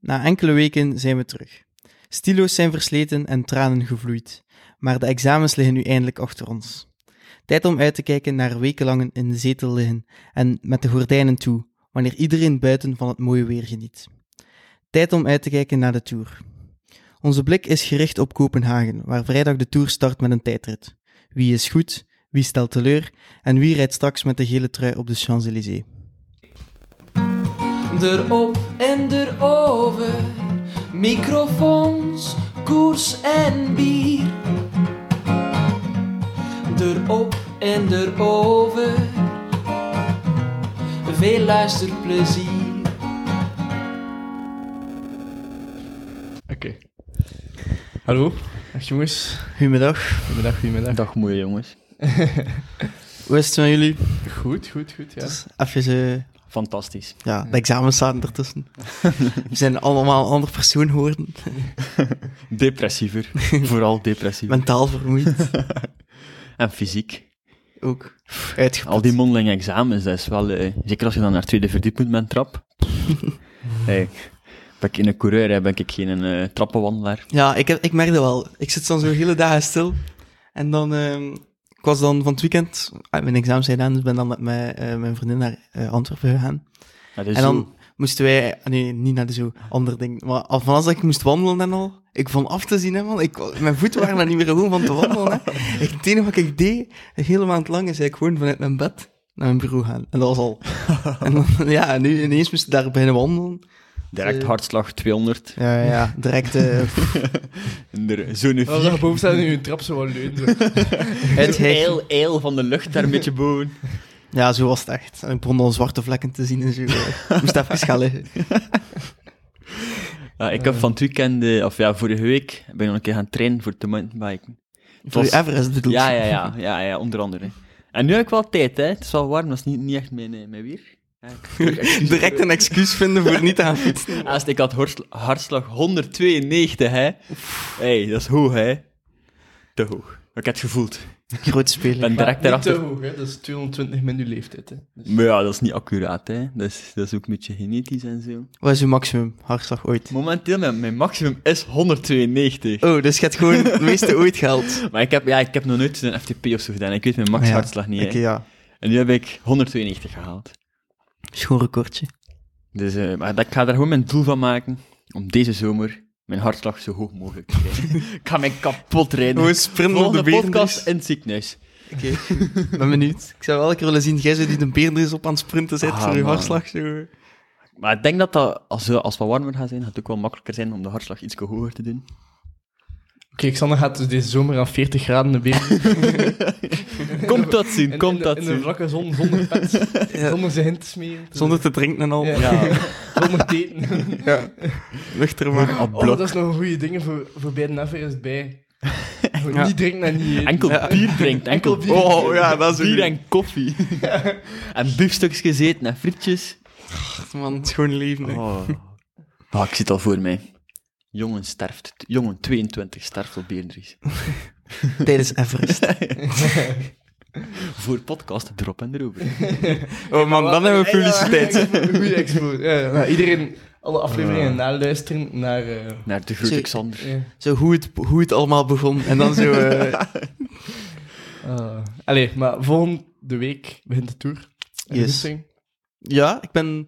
Na enkele weken zijn we terug. Stilo's zijn versleten en tranen gevloeid, maar de examens liggen nu eindelijk achter ons. Tijd om uit te kijken naar wekenlang in de zetel liggen en met de gordijnen toe, wanneer iedereen buiten van het mooie weer geniet. Tijd om uit te kijken naar de Tour. Onze blik is gericht op Kopenhagen, waar vrijdag de Tour start met een tijdrit. Wie is goed, wie stelt teleur en wie rijdt straks met de gele trui op de Champs-Élysées. Erop en erover, microfoons, koers en bier. Erop en erover, veel luisterplezier. Oké. Hallo, dag jongens. Goedemiddag, Goedemiddag, goedemiddag. Dag moeie jongens. hoe is het met jullie? Goed, goed, goed, ja. Dus even eh, Fantastisch. ja, de examens zaten ertussen. We zijn allemaal een ander persoon geworden, Depressiever. Vooral depressiever. mentaal vermoeid En fysiek. ook. Uitgeput. Al die mondelinge examens, dat is wel... eh, zeker als je dan naar het tweede verdiep moet met een trap. hey, ben ik in een coureur, hè, ben ik geen eh, trappenwandelaar. Ja, ik, heb, ik merk dat wel. Ik zit dan zo hele dagen stil. En dan, ehm, ik was dan van het weekend, ah, mijn examens zijn gedaan, dus ben dan met mijn, eh, mijn vriendin naar eh, Antwerpen gegaan. Dat is en dan moesten wij, ah, nee, niet naar de zo, ander ding. Maar al vanaf dat ik moest wandelen en al, ik van af te zien, hè, man. Ik, mijn voeten waren er niet meer gewoon van te wandelen. Hè. Ik, het enige wat ik deed, een hele maand lang, is ik gewoon vanuit mijn bed naar mijn bureau gaan. En dat was al. en dan, ja, en nu ineens moest ik daar beginnen wandelen. direct eh, hartslag 200. Ja, ja, direct eh, En er- Zo'n Als je vier. boven staat in je trap zo wel leunen. zo. uit Eil, eil van de lucht daar een beetje boven. Ja, zo was het echt. En ik begon al zwarte vlekken te zien en zo. eh. Ik moest even gaan liggen. Ja, ik heb van het weekend, eh, of ja, vorige week, ben ik nog een keer gaan trainen voor te mountainbiken. Het Voor was- je Everest bedoel ik. Ja, ja, ja, ja, ja, onder andere. En nu heb ik wel tijd, hè. Het is wel warm, dat is niet, niet echt mijn, eh, mijn weer. Ja, ik- Direct een excuus vinden voor niet aan fietsen. Als ik had hors- hartslag 192, hè. hey, dat is hoog, hè. Te hoog. Ik heb het gevoeld. Groot Ik speler. ben direct Niet te daarachter. hoog, hè. Dat is 220 min uw leeftijd, hè. Dus- Maar ja, dat is niet accuraat, hè. Dat is, dat is ook een beetje genetisch en zo. Wat is uw maximum hartslag ooit? Momenteel, mijn, mijn maximum is 192. Oh, dus je hebt gewoon het meeste ooit Oh, geld. Maar ik heb, ja, ik heb nog nooit een FTP of zo gedaan. Ik weet mijn max Ah, Ja. hartslag niet, hè. Oké, ja. En nu heb ik 192 gehaald. Schoon recordje. Dus eh, maar dat, ik ga daar gewoon mijn doel van maken om deze zomer mijn hartslag zo hoog mogelijk te krijgen. ik ga mij kapot rijden. Gewoon sprinten op de Volgende beerendries. podcast in het ziekenhuis. Oké, goed. ben benieuwd. Ik zou wel een keer willen zien, jij zo die de beerendries op aan het sprinten zet Ah, voor je man. hartslag. Zo. Maar ik denk dat dat, als we, als we warmer gaan zijn, gaat het ook wel makkelijker zijn om de hartslag iets hoger te doen. Oké, Xander gaat dus deze zomer aan 40 graden de weer. Komt dat zien, In- komt in, dat in, de zien. vlakke zon, zonder pet, Ja, zonder zijn hint te smeren. zonder te drinken en al. Ja. Ja, Zonder teten. Ja. Nuchter maar. op Oh, dat blok. is nog een goede ding voor, voor bij de Everest bij. Gewoon Ja. Niet drinken en niet eten. Enkel Ja. bier drinkt, enkel Enkel bier. bier. Oh, ja, dat is een bier goeie. en koffie. en biefstukjes gezeten en frietjes. Man, het is gewoon leven. hè. Oh. Ah, ik zie het al voor mij. Jongen sterft. Jongen 22 sterft op Beendries. Tijdens Everest. Voor podcast Drop en Erover. Oh man, dan hebben we publiciteit. Goede expo. Ja, nou, iedereen, alle afleveringen naluisteren naar. eh, Naar de Zo- grote Xander. ja. Zo hoe het, hoe het allemaal begon. En dan zo... eh, Ah. Allee, maar volgende week begint de tour. En de Yes. goesting. ja, ik ben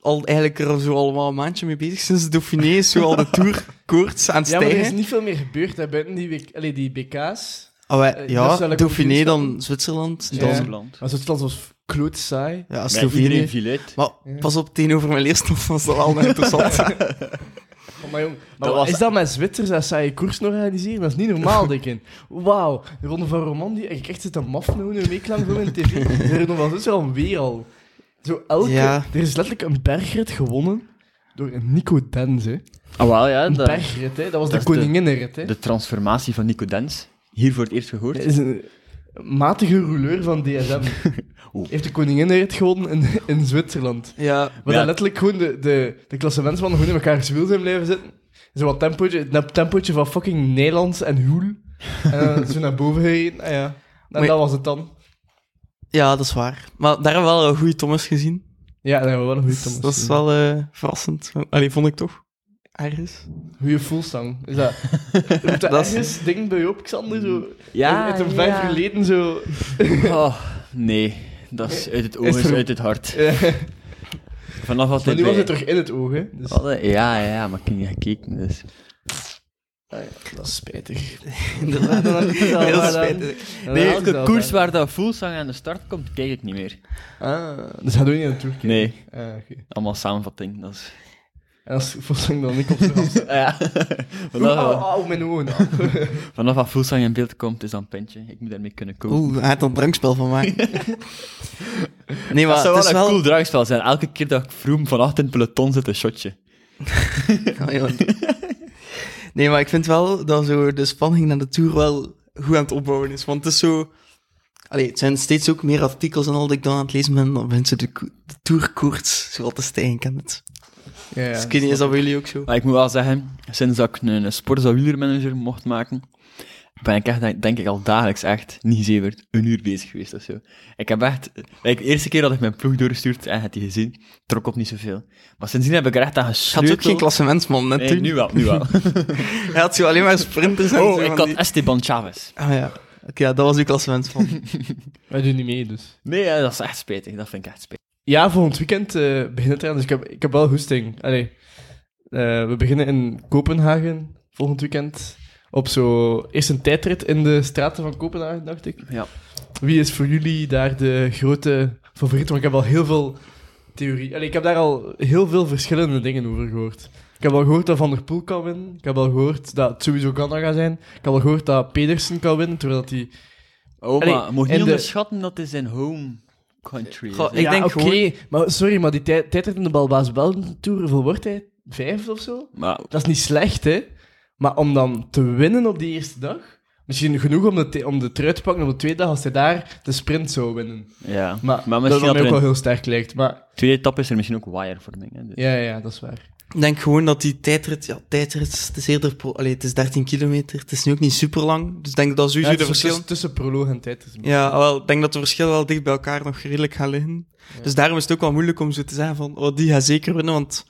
al, eigenlijk er zo allemaal een maandje mee bezig. Sinds de Dauphiné is zo al de Tour koorts aan het Ja, maar er is stijgen. niet veel meer gebeurd hè, buiten die, week, allee, die BK's. Oh, wij- eh, dat ja, is wel een Dauphiné, kampioenschap. dan Zwitserland, Ja. dan Zwitserland. Maar Zwitserland was kloot saai. ja, Maar ja, iedereen Slovenië. viel uit. Maar Ja. pas op, tegenover mijn leerstof was dat wel nog interessant. Oh, maar jong, maar Dat wat was- is dat met Zwitsers dat saaie koers nog organiseren? Dat is niet normaal, dikke. Wauw, de Ronde van Romandie. Ik echt zit te maf nou een week lang voor in tv. De Ronde van Zwitserland weer al. Zo elke... Ja. Er is letterlijk een bergrit gewonnen door een Nico Dens, hè. Ah, wel, ja, Een dat- bergrit, hè. Dat was dat de is de- koninginnenrit, hè. de transformatie van Nico Dens. Hier voor het eerst gehoord. Dat is een matige rouleur van DSM. Oeh. Heeft de koninginrit gewonnen in, in Zwitserland. ja, Waar Ja. dan letterlijk gewoon de, de, de klassementsmannen gewoon in elkaar wiel zijn blijven zitten. Zo wat tempootje, dat tempootje van fucking Nederlands en Hoel. En dan zo naar boven gereden. Ah ja. En Maar- dat was het dan. ja, dat is waar. Maar daar hebben we wel een goede Thomas gezien. Ja, dat was wel een goede dat is wel eh, verrassend. Allee, vond ik toch. ergens. Goeie fullsang. Is dat... Roept dat Dat is- ergens ding bij op, Xander? Zo, Ah, Ja, uit een ja. vijf geleden zo... Oh, nee. Dat is uit het oog, Is is er- uit het hart. Vanaf wat maar nu was dit bij- het terug in het oog, hè. Dus... Hadden- Ja, ja, maar ik heb niet gekeken, dus... Ah ja, dat is spijtig. Inderdaad. Heel spijtig. Nee, elke koers waar dat Fullsang aan de start komt, kijk ik niet meer. Ah, dus dat doe je niet naartoe. Nee. Ah, oké. Allemaal samenvatting, dat is... En als fullsang dan niet op zijn hand staat. Ja. Oeh, vanaf, au, au, mijn ogen. au. vanaf dat Fullsang in beeld komt, is dat een pintje. Ik moet daarmee kunnen kopen. Oeh, hij had er een drankspel van maken. Nee, dat maar zou het wel is een wel... cool drankspel zijn. Elke keer dat ik vroem van achter in het peloton zit, een shotje. Oh, joh. nee, maar ik vind wel dat zo de spanning naar de Tour wel goed aan het opbouwen is. Want het is zo... Allee, het zijn steeds ook meer artikels en al dat ik dan aan het lezen ben. Dan mensen de, ko- de Tourkoorts zo al te stijgen, ken het. Ja, ja. dus ik weet niet, is dat bij jullie ook zo? Maar ik moet wel zeggen, sinds dat ik een, een sports- en wielermanager mocht maken, ben ik echt, denk- denk ik, al dagelijks echt, niet zeker, een uur bezig geweest of zo. Ik heb echt, like, de eerste keer dat ik mijn ploeg doorgestuurd en had die gezien, trok op niet zoveel. Maar sindsdien heb ik er echt aan Hij had gesleuteld. ook geen klassementsman net Nee, toen. nu wel, nu wel. Hij had zo alleen maar sprinters en zo Oh, van ik had die- Esteban Chavez. Ah ja, oké, ja, dat was uw klassementsman. Wij doen niet mee, dus. Nee, ja, dat is echt spijtig, dat vind ik echt spijtig. Ja, volgend weekend eh begint het eraan, dus ik heb, ik heb wel goesting. Allee, eh, we beginnen in Kopenhagen volgend weekend. Op zo eerst een tijdrit in de straten van Kopenhagen, dacht ik. Ja. Wie is voor jullie daar de grote favoriet? Want ik heb al heel veel theorie. Allee, ik heb daar al heel veel verschillende dingen over gehoord. Ik heb al gehoord dat Van der Poel kan winnen. Ik heb al gehoord dat het sowieso Ganna gaat zijn. Ik heb al gehoord dat Pedersen kan winnen, terwijl dat hij... Oh, Allee, maar mocht en niet de- onderschatten dat is zijn home country. is, Goh, hè. ik- denk oké, gewoon- maar sorry, maar die tijd- tijdrit in de Balbaas Belden-tour, hoeveel wordt hij? Vijf of zo? Maar Dat is niet slecht, hè? Maar om dan te winnen op die eerste dag... Misschien genoeg om de, te- om de trui te pakken op de tweede dag als hij daar de sprint zou winnen. Ja, Maar, maar dat misschien dat dat mij er ook in wel de heel sterk lijkt. Maar tweede etappe is er misschien ook wirevorming. Hè, dus. ja, ja, dat is waar. Ik denk gewoon dat die tijdrit, ja, tijdrit, het is eerder, pro, allee, het is 13 kilometer, het is nu ook niet super lang, dus ik denk dat Ja, sowieso het de is verschil... tussen, tussen proloog en tijdrit. Ja, ah, wel, ik denk dat de verschillen wel dicht bij elkaar nog redelijk gaan liggen. Dus daarom is het ook wel moeilijk om zo te zeggen van, oh, die gaat zeker winnen, want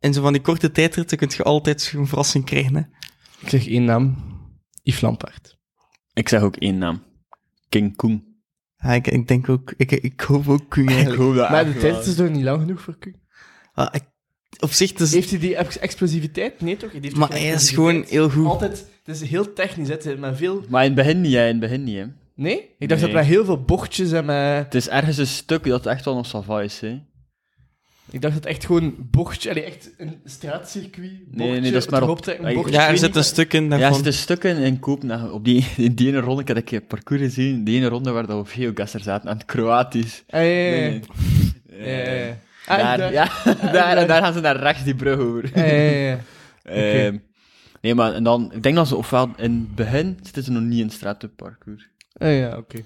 in zo van die korte tijdritten kun je altijd zo'n verrassing krijgen, hè. Ik zeg één naam. Yves Lampaard. Ik zeg ook één naam. King Koen. Ja, ik, ik denk ook, ik, ik hoop ook Koen eigenlijk. hoop dat Maar de tijdrit is toch niet lang genoeg voor Kuhn? Ah, ik- op zich, het is- Heeft hij die ex- explosiviteit? Nee, toch? Die heeft maar toch hij geen is gewoon explosiviteit? heel goed. Altijd, het is heel technisch, hè, het is maar veel... Maar in het begin niet, hè, in het begin niet. Hè. Nee? Ik dacht Nee. dat met heel veel bochtjes en eh, met... Het is ergens een stuk dat echt wel nog sava is. Hè. Ik dacht dat echt gewoon bochtje... Allee, echt een straatcircuit, bochtje, nee, dat is het maar op- hoofdtrek, een Ja, bochtje. Ja, ik er weet zit niet, een stuk in Ja, er daarvan. zitten stukken in Kopenhagen. Op die, in die ene ronde, ik had een keer het parcours gezien, die ene ronde waar dat we veel gasten zaten, aan het Kroatisch. maar- Ah, ja, ja, ja. Nee, Ja, nee. ja, Eh, ja. Ah, Daar, daar. ja, daar, daar. en daar gaan ze naar rechts die brug over. Ja, ja, ja, ja. Ehm, nee, maar en dan, ik denk dat ze ofwel in het begin zitten ze nog niet in het stratenparcours. Ah, ja, oké.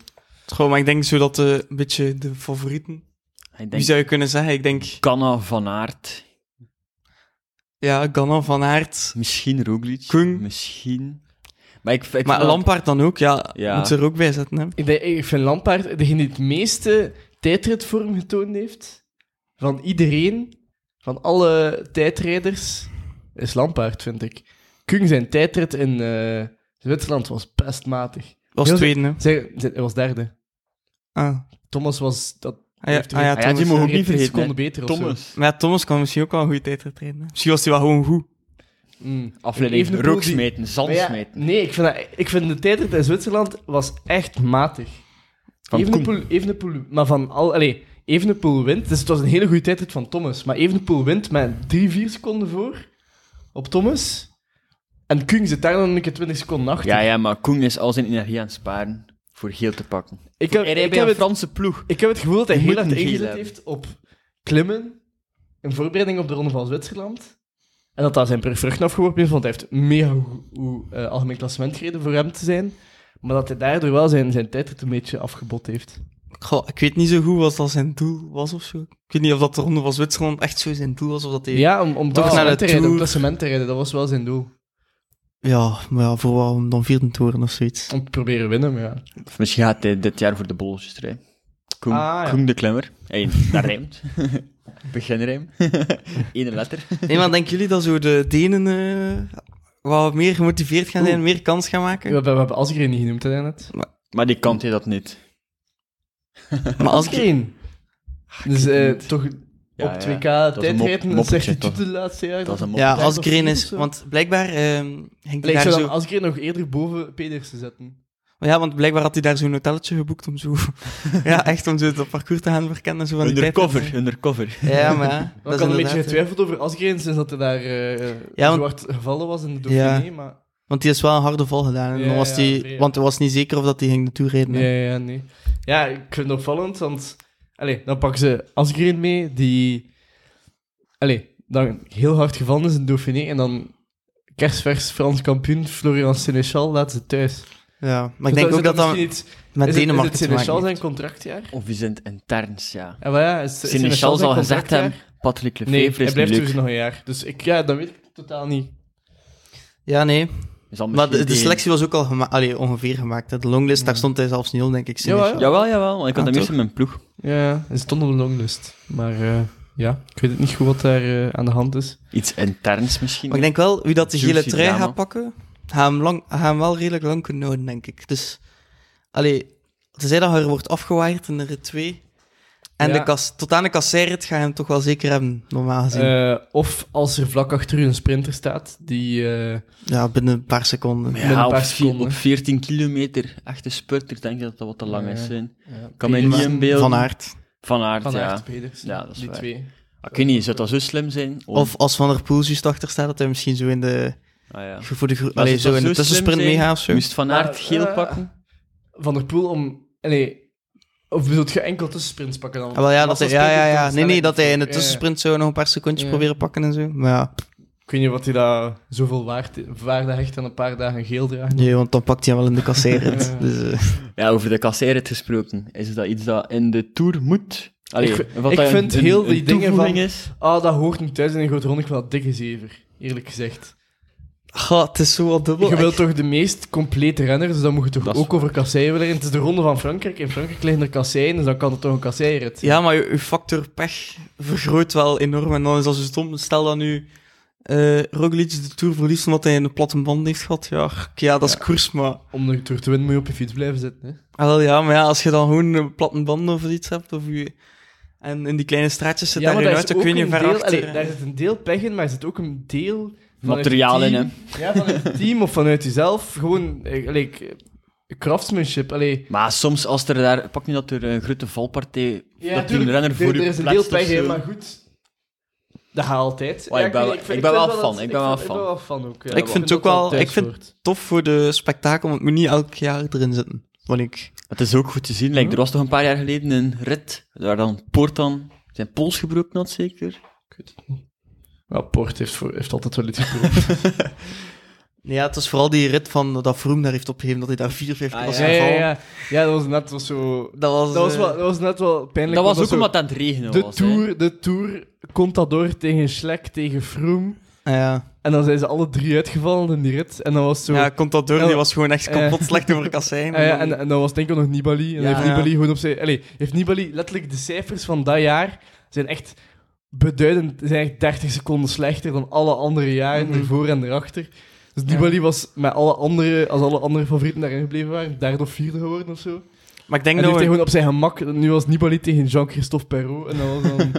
Gewoon, maar ik denk zo dat de, een beetje de favorieten, Ik wie denk zou je kunnen zeggen? Ik denk, Canna van Aert, ja, Ganna, Van Aert, misschien Roglic, Koen. misschien. Maar ik, ik maar vind dat- Lampaard dan ook, ja, Ja. moet ze er ook bij zetten, hè. Ik, denk- ik vind Lampaard degene die het meeste tijdritvorm getoond heeft. Van iedereen, van alle tijdrijders, is Lampaard, vind ik. Kung zijn tijdrit in eh, Zwitserland was best matig. Was Heel tweede, hè. Zij, zij- hij was derde. Ah. Thomas was... Dat Ah ja, heeft ah ja, Ah ja, die Thomas, mogen ja. ook niet vergeten. seconden hè. beter of zo. Thomas. Maar ja, Thomas kan misschien ook wel een goede tijdrit rijden. hè. Misschien was hij wel gewoon goed. Mm. Afleiding, Evenepoel rook die- smeten, zand Maar ja, smeten. nee, ik vind, dat, ik vind de tijdrit in Zwitserland was echt matig. Van Evenepoel, Evenepoel, maar van al... Allee, Evenepoel wint, dus het was een hele goede tijdrit van Thomas. Maar Evenepoel wint met 3, 4 seconden voor op Thomas. En Kung zit daar dan een keer 20 seconden achter. Ja, ja, maar Koen is al zijn energie aan het sparen voor geel te pakken. Ik, heb, Hij rijdt ik, bij heb een het, Franse ploeg. ik heb het gevoel dat hij Je heel moet hard een gele ingezet hebben. heeft op klimmen in voorbereiding op de Ronde van Zwitserland. En dat daar zijn per vruchten afgeworpen is, want hij heeft mega goed- goed eh, algemeen klassement gereden voor hem te zijn. Maar dat hij daardoor wel zijn, zijn tijdrit een beetje afgebot heeft. Goh, ik weet niet zo goed wat dat zijn doel was of zo. Ik weet niet of dat de Ronde van Zwitserland echt zo zijn doel was. Of dat hij... Ja, om, om Toch toch naar naar de te rijden, om Tour. klassement te rijden, dat was wel zijn doel. Ja, maar ja, voor wel om dan vierde te worden of zoiets. Om te proberen winnen, maar ja. Of misschien gaat hij dit jaar voor de bolletjes rijden. Koen, Ah, ja. Koen de Klemmer. Hey, dat rijmt. Beginrijm. Eén letter. Nee, maar denken jullie dat zo de Denen eh, wat meer gemotiveerd gaan zijn, meer kans gaan We maken? hebben, we hebben Asgreen niet genoemd, hè, net. Maar die kan hij dat niet. Maar als ik... Asgreen! Dus Ah, weet eh, het niet. toch Ja, op ja. 2K Dat is een mop- tijdrijden, dat moppertje, zegt hij toch? tot de laatste jaren. Dat is een mop. Ja, Op als tijd Green of is... zo. Want blijkbaar ehm ging hij Allee, ik daar zou zo... dan Asgreen nog eerder boven Pedersen zetten. Ja, want blijkbaar had hij daar zo'n hotelletje geboekt om zo... ja, echt om zo dat parcours te gaan verkennen. Zo van die Undercover, tijd. undercover. Ja, maar ja. Maar ik is had een beetje inderdaad, eh, getwijfeld over Asgreen sinds dat hij daar eh, Ja, want- zwart gevallen was in de Dauphiné, maar... eh, Want die is wel een harde val gedaan. En Ja, dan was ja, die, vrij. Want hij was niet zeker of dat hij ging naartoe rijden. hè. Ja, ja, nee. Ja, ik vind het opvallend, want... Allee, dan pakken ze Asgreen mee, die... Allee, dan heel hard gevallen is in Dauphiné, en dan kerstvers Frans kampioen Florian Seneschal laat ze thuis. Dus Ja, maar ik denk ook dat dat misschien iets- met is het- Denemarken Is het te maken Seneschal heeft. zijn contractjaar? Of is het interns, ja. Ja, maar ja, is, is Sinechal zijn zal gezegd contractjaar? hebben, Patrick Nee, Lefevre hij is niet blijft leuk. dus nog een jaar. Dus ik, ja, dat weet ik totaal niet. Ja, nee. Hij zal Maar de, de misschien tegen- selectie was ook al gema- allee, ongeveer gemaakt. hè. De longlist, daar stond hij zelfs niet op, denk ik. Jawel, Seneschal. Jawel, jawel, want ik had Ah, hem eerst in mijn ploeg. Ja, hij stond op de longlist. Maar eh, ja, ik weet het niet goed wat daar eh, aan de hand is. Iets interns misschien. Maar ik denk wel, wie dat de Juicy gele trui drama. gaat pakken, gaat hem, lang, gaat hem wel redelijk lang kunnen houden, denk ik. Dus, allee, tenzij dat hij er wordt afgewaaid in de rit 2. En Ja. de kas, tot aan de kasseirrit ga je hem toch wel zeker hebben, normaal gezien. Eh, of als er vlak achter u een sprinter staat, die... eh, ja, binnen een paar seconden. Maar Met een ja, op, paar vier- seconden. op 14 kilometer, echte spurter, denk ik dat dat wat te lang Ja. is. Zijn. ja, Kan mij Pedersen, niet inbeelden. Van Aert. Van Aard, Van ja. Aert, Pedersen. Ja, dat is Die waar. twee. Ik weet niet, zou dat zo slim zijn? Om- Of als Van der Poel juist achter staat, dat hij misschien zo in de, ah, ja. voor de, gro- Maar allee, zou zo dat in de zo slim tussensprint zijn? meegaat of zo. Moest Van Aert Maar, geel eh, pakken? Van der Poel om... Nee, of bedoelt je enkel tussensprints pakken dan? Ah, wel, ja, dat hij, Want ja, ja, massasprinten ja. kan Nee, nee, dat hij in de snelheid- Ja, ja. tussensprint zo nog een paar secondjes Ja. proberen pakken en zo. Maar ja, Ik weet niet wat hij daar zoveel waard, waarde hecht aan een paar dagen geel dragen. nee, want dan pakt hij hem wel in de kasseirrit. Ja. Dus, eh. Ja, over de kasseirit gesproken. Is dat iets dat in de Tour moet? Allee, Ik- wat ik dat vind heel die dingen toevoeging van- Is. Ah, dat hoort niet thuis in een grote ronde. Ik vind dat dikke zever, eerlijk gezegd. Goh, het is zo wat dubbel. Je wilt toch de meest complete renner, dus dan moet je toch Dat is ook over kasseien willen. Het is de ronde van Frankrijk. In Frankrijk liggen er kasseien, dus dan kan het toch een kasseirit. Ja, maar je, je factor pech vergroot wel enorm. En dan is dat zo stom. Stel dat nu eh Roglic de Tour verliest omdat hij een platte band heeft gehad. Ja, k- ja dat is koers, maar... Om de Tour te winnen moet je op je fiets blijven zitten. Hè? Ah, wel, ja, maar ja, als je dan gewoon een platte band of iets hebt, of je... En in die kleine straatjes zit daar je uit, ik weet niet een ver deel... achter. Allee, daar zit een deel pech in, maar er zit ook een deel... vanuit Materiaal je in, team- hè. Ja, vanuit het team of vanuit jezelf. Gewoon, eh, allee, ik- craftsmanship. Allee, Maar soms als er daar... Pak nu dat er een grote valpartij... dat er een tuurlijk, renner er- voor er je is een plaatst deel of pech in, zo. maar goed... Dat gaat altijd. Oh, ik ben wel- weet- ik ben wel vind fan, dat- ik ben wel vind- fan. Ik ben wel fan ook. ja. Ik vind het ook dat wel- dat thuis ik vind- hoort. Tof voor de spektakel, want het moet niet elk jaar erin zitten. Vond ik. Het is ook goed te zien. Hm? Like, er was toch een paar jaar geleden een rit waar dan Portan zijn pols gebroken had, zeker? Ik weet het niet. Nou, Port heeft, voor- heeft altijd wel iets geprobeerd. Ja, het is vooral die rit van dat Vroom daar heeft opgegeven, dat hij daar 4, 5 Ah, was ja, gevallen. ja, ja. ja, dat was net wel zo... Dat was, Dat was, eh, wel, dat was net wel pijnlijk. dat was ook zo- omdat het aan het regenen De was. hè. tour, de tour Contador tegen Schlek, tegen Froome. ah, ja. En dan zijn ze alle drie uitgevallen in die rit. En dan was zo... Ja, komt dat door? Ja. Die was gewoon echt Eh. kapot slecht over Kassijn. Ah ja, en, en dan was denk ik ook nog Nibali. En dan Ja. heeft Nibali gewoon op zijn... Allee, heeft Nibali letterlijk de cijfers van dat jaar zijn echt beduidend... Zijn echt 30 seconden slechter dan alle andere jaren Mhm. ervoor en erachter. Dus Nibali was met alle andere... Als alle andere favorieten daarin gebleven waren, derde of vierde geworden of zo. Maar ik denk En dat nu heeft hij we... gewoon op zijn gemak... Nu was Nibali tegen Jean-Christophe Perrault. En dat was dan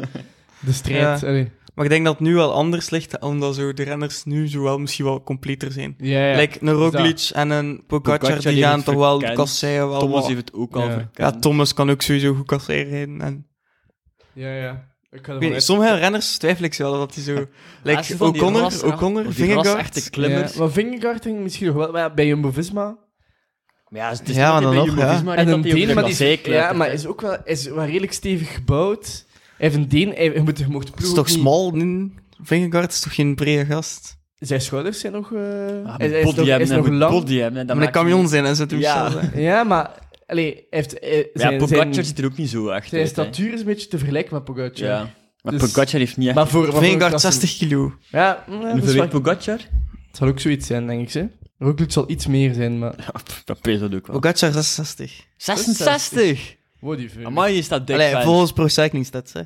de strijd. Ja. Allee. Maar ik denk dat het nu wel anders ligt, omdat zo de renners nu zo wel misschien wel completer zijn. Ja, ja. Like een Roglic en een Pogacar, Pogacar die heeft gaan het toch wel de verkend. kasseien wel... Thomas wel- heeft het ook al Ja. Ja, verkend. Thomas kan ook sowieso goed kasseien rijden. En... Ja, ja. Ik ga Ik ervan weet niet, uit. sommige renners twijfel ik wel dat die zo... Ah, ze Like van die O'Connor, ras- die O'Connor, ras- Vingegaard. echte klimmers. Ja, maar Vingegaard ging misschien nog wel maar ja, bij Jumbo-Visma. Maar ja, het Ja, maar dan nog, ja. En een Deen, maar die is... is, ja, maar is ook wel, is wel redelijk stevig gebouwd. Hij heeft een Deen, hij, hij moet er mocht Het ploegen. is toch smal, nee? Vingegaard is toch geen brede gast? Zijn schouders zijn nog... eh Ah, hij, hij is nog, Body hij hebben, is hij nog moet lang. body hebben. hè. Dat Met een maakt camion niet- zijn en zo te Ja. bestellen. Ja, maar... Allee, hij heeft... eh, zijn, Ja, zijn, Pogacar zijn, zit er ook niet zo echt uit, hè. statuur is een beetje te vergelijken met Pogacar. Ja. Maar Dus- Pogacar heeft niet echt... Maar voor, maar voor een Vingegaard klasse- 60 kilo. Ja, mm, ja, En dat is hoeveel waar. weet Pogacar? Het zal ook zoiets zijn, denk ik. Hè? Roglic zal iets meer zijn, maar... Ja, pff, dat pees dat ook wel. Pogacar 66. 66! Wow, die vind ik- Amai, je staat dik Allee, vast. volgens Pro Cycling Stats, hè.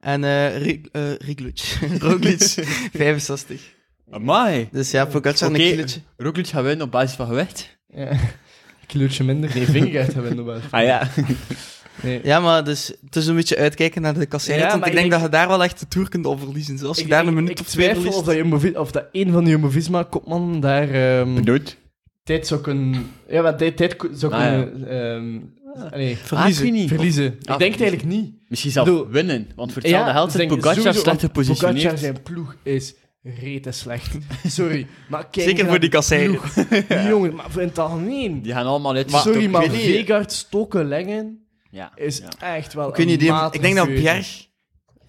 En eh Ri- eh, Roglic. Roglic, 65. Amai. Dus ja, Pogacar Oké. een kilootje. Roglic gaat winnen op basis van gewicht. Ja. Een kilootje minder. Nee, vind ik echt hebben we nog Ah ja. Nee. Ja, maar dus, het is een beetje uitkijken naar de kasseinet, Ja, want maar ik denk ik- dat je daar wel echt de Tour kunt op verliezen. Als je daar een minuut ik of twee twijfel verliest. of dat, Jumbo, of dat een van de Jumbo-Visma-kopmannen daar ehm, Benoemd. tijd zou kunnen... Ja, maar tijd, tijd ko- zou Ah, ja. kunnen... ehm, allee, Verliezen. Ah, ik weet niet. verliezen. ik denk het verliezen. eigenlijk niet. Misschien zelf Doe- winnen. Want voor hetzelfde geld zit denk ik Pogacar sowieso, slecht want Pogacar gepositioneerd. zijn ploeg is rete slecht. Sorry. Maar kijk Zeker naar voor die kasseien. ploeg. Die jongen, maar voor in het algemeen. Die gaan allemaal uit. Sorry, Stokken. maar Ik weet niet. Vegaard, Stokken, Lengen Ja. is Ja. echt wel Ik weet niet, die- een maat eh, ik denk dat keuze. Bjerg...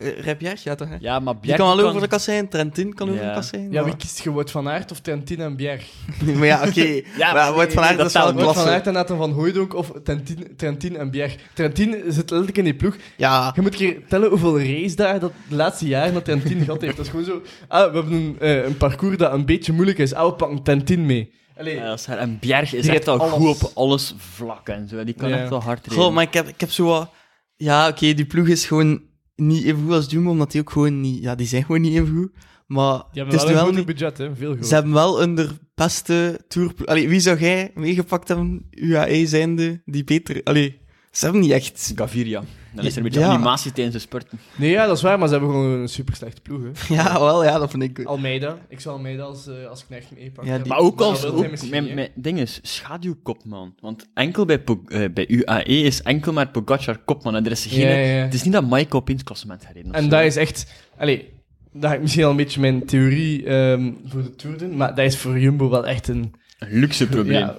Uh, Rep Bjerg, ja toch? Hè? Ja, maar Die Bjerg kan wel kan- over de kasseien, Trentin kan over Ja. de kasseien. Ja, maar- wie kiest je Wout van Aert of Trentin en Bjerg? maar ja, oké. Ja, maar Wout van Aert, dat dat is wel telt niet. Wout van klasse. Aert en Nathan van Hooijdonk of Trentin, Trentin en Bjerg? Trentin zit letterlijk in die ploeg. Ja, Je moet een keer tellen hoeveel race daar dat de laatste jaren dat Trentin gehad heeft. Dat is gewoon zo... Ah, we hebben een, eh, een parcours dat een beetje moeilijk is. Ah, we pakken Trentin mee. Allee, Ja, dat is haar. En Bjerg is Die echt wel heeft goed alles. op alles vlakken en zo. Die kan Ja. echt wel hard rijden. Goh, maar ik heb, ik heb zo wat... Ja, oké, die ploeg is gewoon niet even goed als Jumbo, omdat die ook gewoon niet... Ja, die zijn gewoon niet even goed. Maar Die het hebben is wel een wel groot niet- budget, hè. Veel groot. ze hebben wel onder beste tour... Allee, wie zou jij meegepakt hebben, UAE zijnde, die beter... Allee, ze hebben niet echt... Gaviria. Dan is er een beetje Ja. animatie tijdens de spurten. Nee, ja, dat is waar, maar ze hebben gewoon een super slechte ploeg, hè. Ja, wel, ja, dat vind ik goed. Almeida. Ik zou Almeida als, eh, als knecht meepakken. Ja, die- Maar ook dat als... wil hij Ook, misschien mijn, niet, mijn ding is, schaduwkopman. Want enkel bij, Po- eh, bij UAE is enkel maar Pogacar kopman. En er is geen... Ja, ja, ja. Het is niet dat Michael op in het klassement gaat rijden. of En zo. dat is echt... Allee, dat ga ik misschien al een beetje mijn theorie ehm, voor de Tour doen, maar dat is voor Jumbo wel echt een... Een luxe probleem. Ja,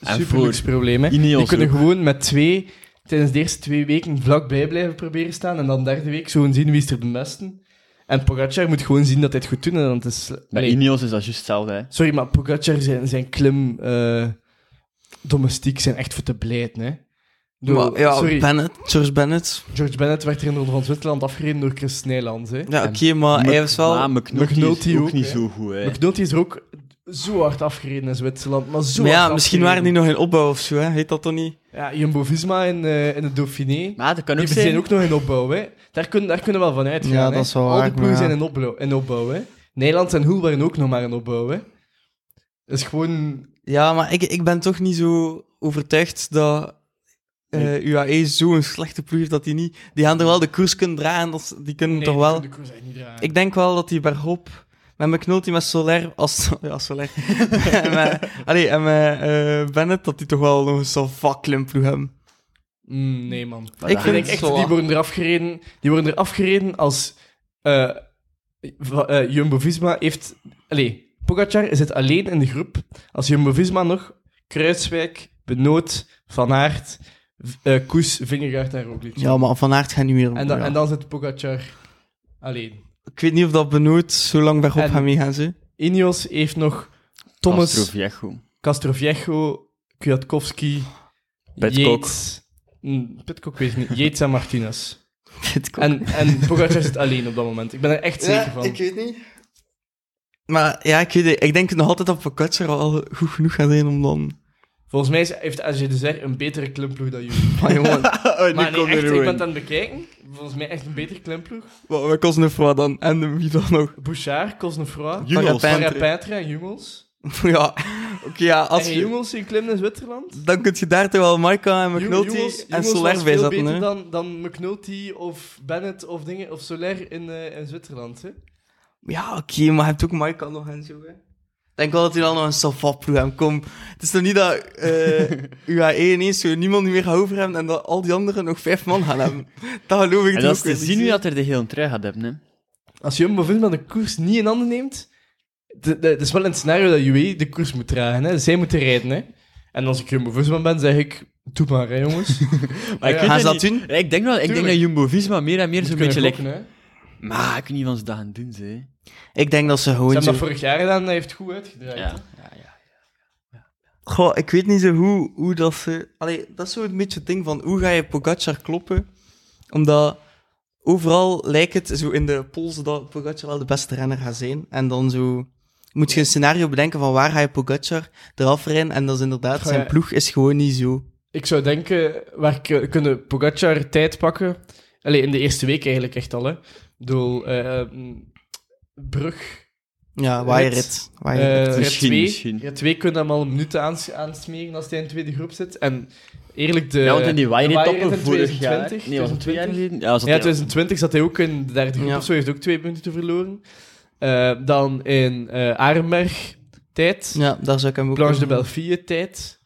En super luxe probleem, hè. Ineos Die kunnen ook. gewoon met twee... Tijdens de eerste twee weken vlakbij blijven proberen staan en dan derde week gewoon zien wie is er de beste. En Pogacar moet gewoon zien dat hij het goed doet en dan het is... Bij Allee, Ineos is dat juist hetzelfde, hè. Sorry, maar Pogacar zijn, zijn klim... eh, domestiek zijn echt voor te blijten, hè. Doe- Maar, ja, sorry, Bennett, George Bennett. George Bennett werd er in de Ronde van Zwitserland afgereden door Chris Nijlands, hè. Ja, En oké, Ah, maar hij is wel... Maar McNulty, McNulty is ook, ook, niet hè. zo goed, hè. McNulty is er ook zo hard afgereden in Zwitserland, maar zo Maar ja, hard misschien waren afgereden. die nog in opbouw of zo, hè? Heet dat toch niet? Ja, Jumbo-Visma in, eh, in het Dauphiné... Maar dat kan ook Die zijn... zijn ook nog in opbouw, hè. Daar kunnen, daar kunnen we wel van uitgaan, Ja, hè. dat is wel Al waar, die ploegen maar ja. zijn in opbouw, in opbouw, hè. Nederland en Hoel waren ook nog maar in opbouw, hè. Dat is gewoon... Ja, maar ik, ik ben toch niet zo overtuigd dat eh, UAE zo'n slechte ploeg heeft dat die niet... Die gaan er wel de koers kunnen draaien, dat ze- die kunnen Nee, toch wel... de koers echt niet draaien. Ik denk wel dat die bergop met McNulty, met Soler, als... Ja, Soler. en met, allee, en met eh, Bennett, dat die toch wel nog eens zo'n fucking ploeg hebben. Mm, nee, man. Ik Voilà. vind Ik denk het echt, zo... die worden eraf gereden, die worden eraf gereden als eh, va- eh, Jumbo-Visma heeft... Allee, Pogacar zit alleen in de groep. Als Jumbo-Visma nog Kruiswijk, Benoot, Van Aert, v- eh, Koes, Vingegaard en Roglic. Ja, maar Van Aert gaat niet meer... en, dan, ja. en dan zit Pogacar alleen. Ik weet niet of dat benoemd zo lang bergop En- gaan meegaan, ze. Ineos heeft nog Thomas, Castroviejo. Castroviejo, Kwiatkowski, Pidcock. Yates... Mm, Pidcock weet ik niet. Yates en Martinez. Dit komt. En, en Pogacar zit alleen op dat moment. Ik ben er echt zeker van. weet niet. Maar ja, ik weet het. Ik denk nog altijd dat Pogacar al goed genoeg gaat zijn om dan... Volgens mij is- heeft AG Desert een betere klimploeg dan jullie. Maar jongen, maar nee, echt, ik ben het aan het bekijken. Volgens mij echt een betere klimploeg. wat, wat kost een vrouw dan? En wie dan nog? Bouchard, Cosnefroid, Jungels. Parapente. Parapetra en Jumels. ja, oké, ja, als Als en je- Jumels zien klimmen in Zwitserland. Dan kun je daar toch wel Marca en Jum- McNulty Jungels- en Jungels Soler was bij veel zetten, beter hè. dan, dan McNulty of Bennett of, dingen, of Soler in, eh, in Zwitserland. Hè? Ja, oké, maar je hebt ook Marca nog en zo, hè. Ik denk wel dat hij dan nog een savat programma komt. Het is toch niet dat eh UAE ineens zo niemand meer gaat over hebben en dat al die anderen nog vijf man gaan hebben. Dat geloof ik En toch dat is ook weer te zien niet. nu dat er de hele trui gaat hebben, hè. Als Jumbo-Visma de koers niet in handen neemt... Het is wel een scenario dat UAE de koers moet dragen. Hè? Dus zij moeten rijden. Hè? En als ik Jumbo-Visma ben, zeg ik... Doe maar, hè, jongens. Maar ik Ja. weet Gaan ze dat dat niet. doen? Ja, Ik denk, wel, ik denk Tuurlijk. dat Jumbo-Visma meer en meer zo'n beetje lekker... lekker. Maar ik weet niet wat ze dat gaan doen, ze. Ik denk dat ze Ze gewoon hebben zo... dat vorig jaar gedaan en dat heeft het goed uitgedraaid. Ja. Goh, ik weet niet zo hoe, hoe dat ze... Allee, dat is zo een beetje het ding van hoe ga je Pogacar kloppen? Omdat overal lijkt het zo in de polls dat Pogacar wel de beste renner gaat zijn. En dan zo... Moet je een scenario bedenken van waar ga je Pogacar eraf rijden? En dat is inderdaad, Goh, zijn ja. ploeg is gewoon niet zo. Ik zou denken, waar k- kunnen Pogacar tijd pakken? Allee, in de eerste week eigenlijk echt al, hè. eh, Doel, mm, Brug, Ja, Rit. waaierrit. Waaierrit. Eh, Misschien, rit misschien. Rit 2 kunnen hem al een minuut aans aansmeren als hij in de tweede groep zit. En eerlijk, de, ja, want in die de Wire-etappe waaierrit in vorig jaar... 2020, Nee, was het twee jaar geleden? Ja, was Ja, dat ja. 2020 zat hij ook in de derde groep Ja. of zo, heeft ook twee minuten verloren. Eh, dan in eh Arenberg tijd, ja, daar zou ik hem ook... Planche Eh, de Belfie tijd.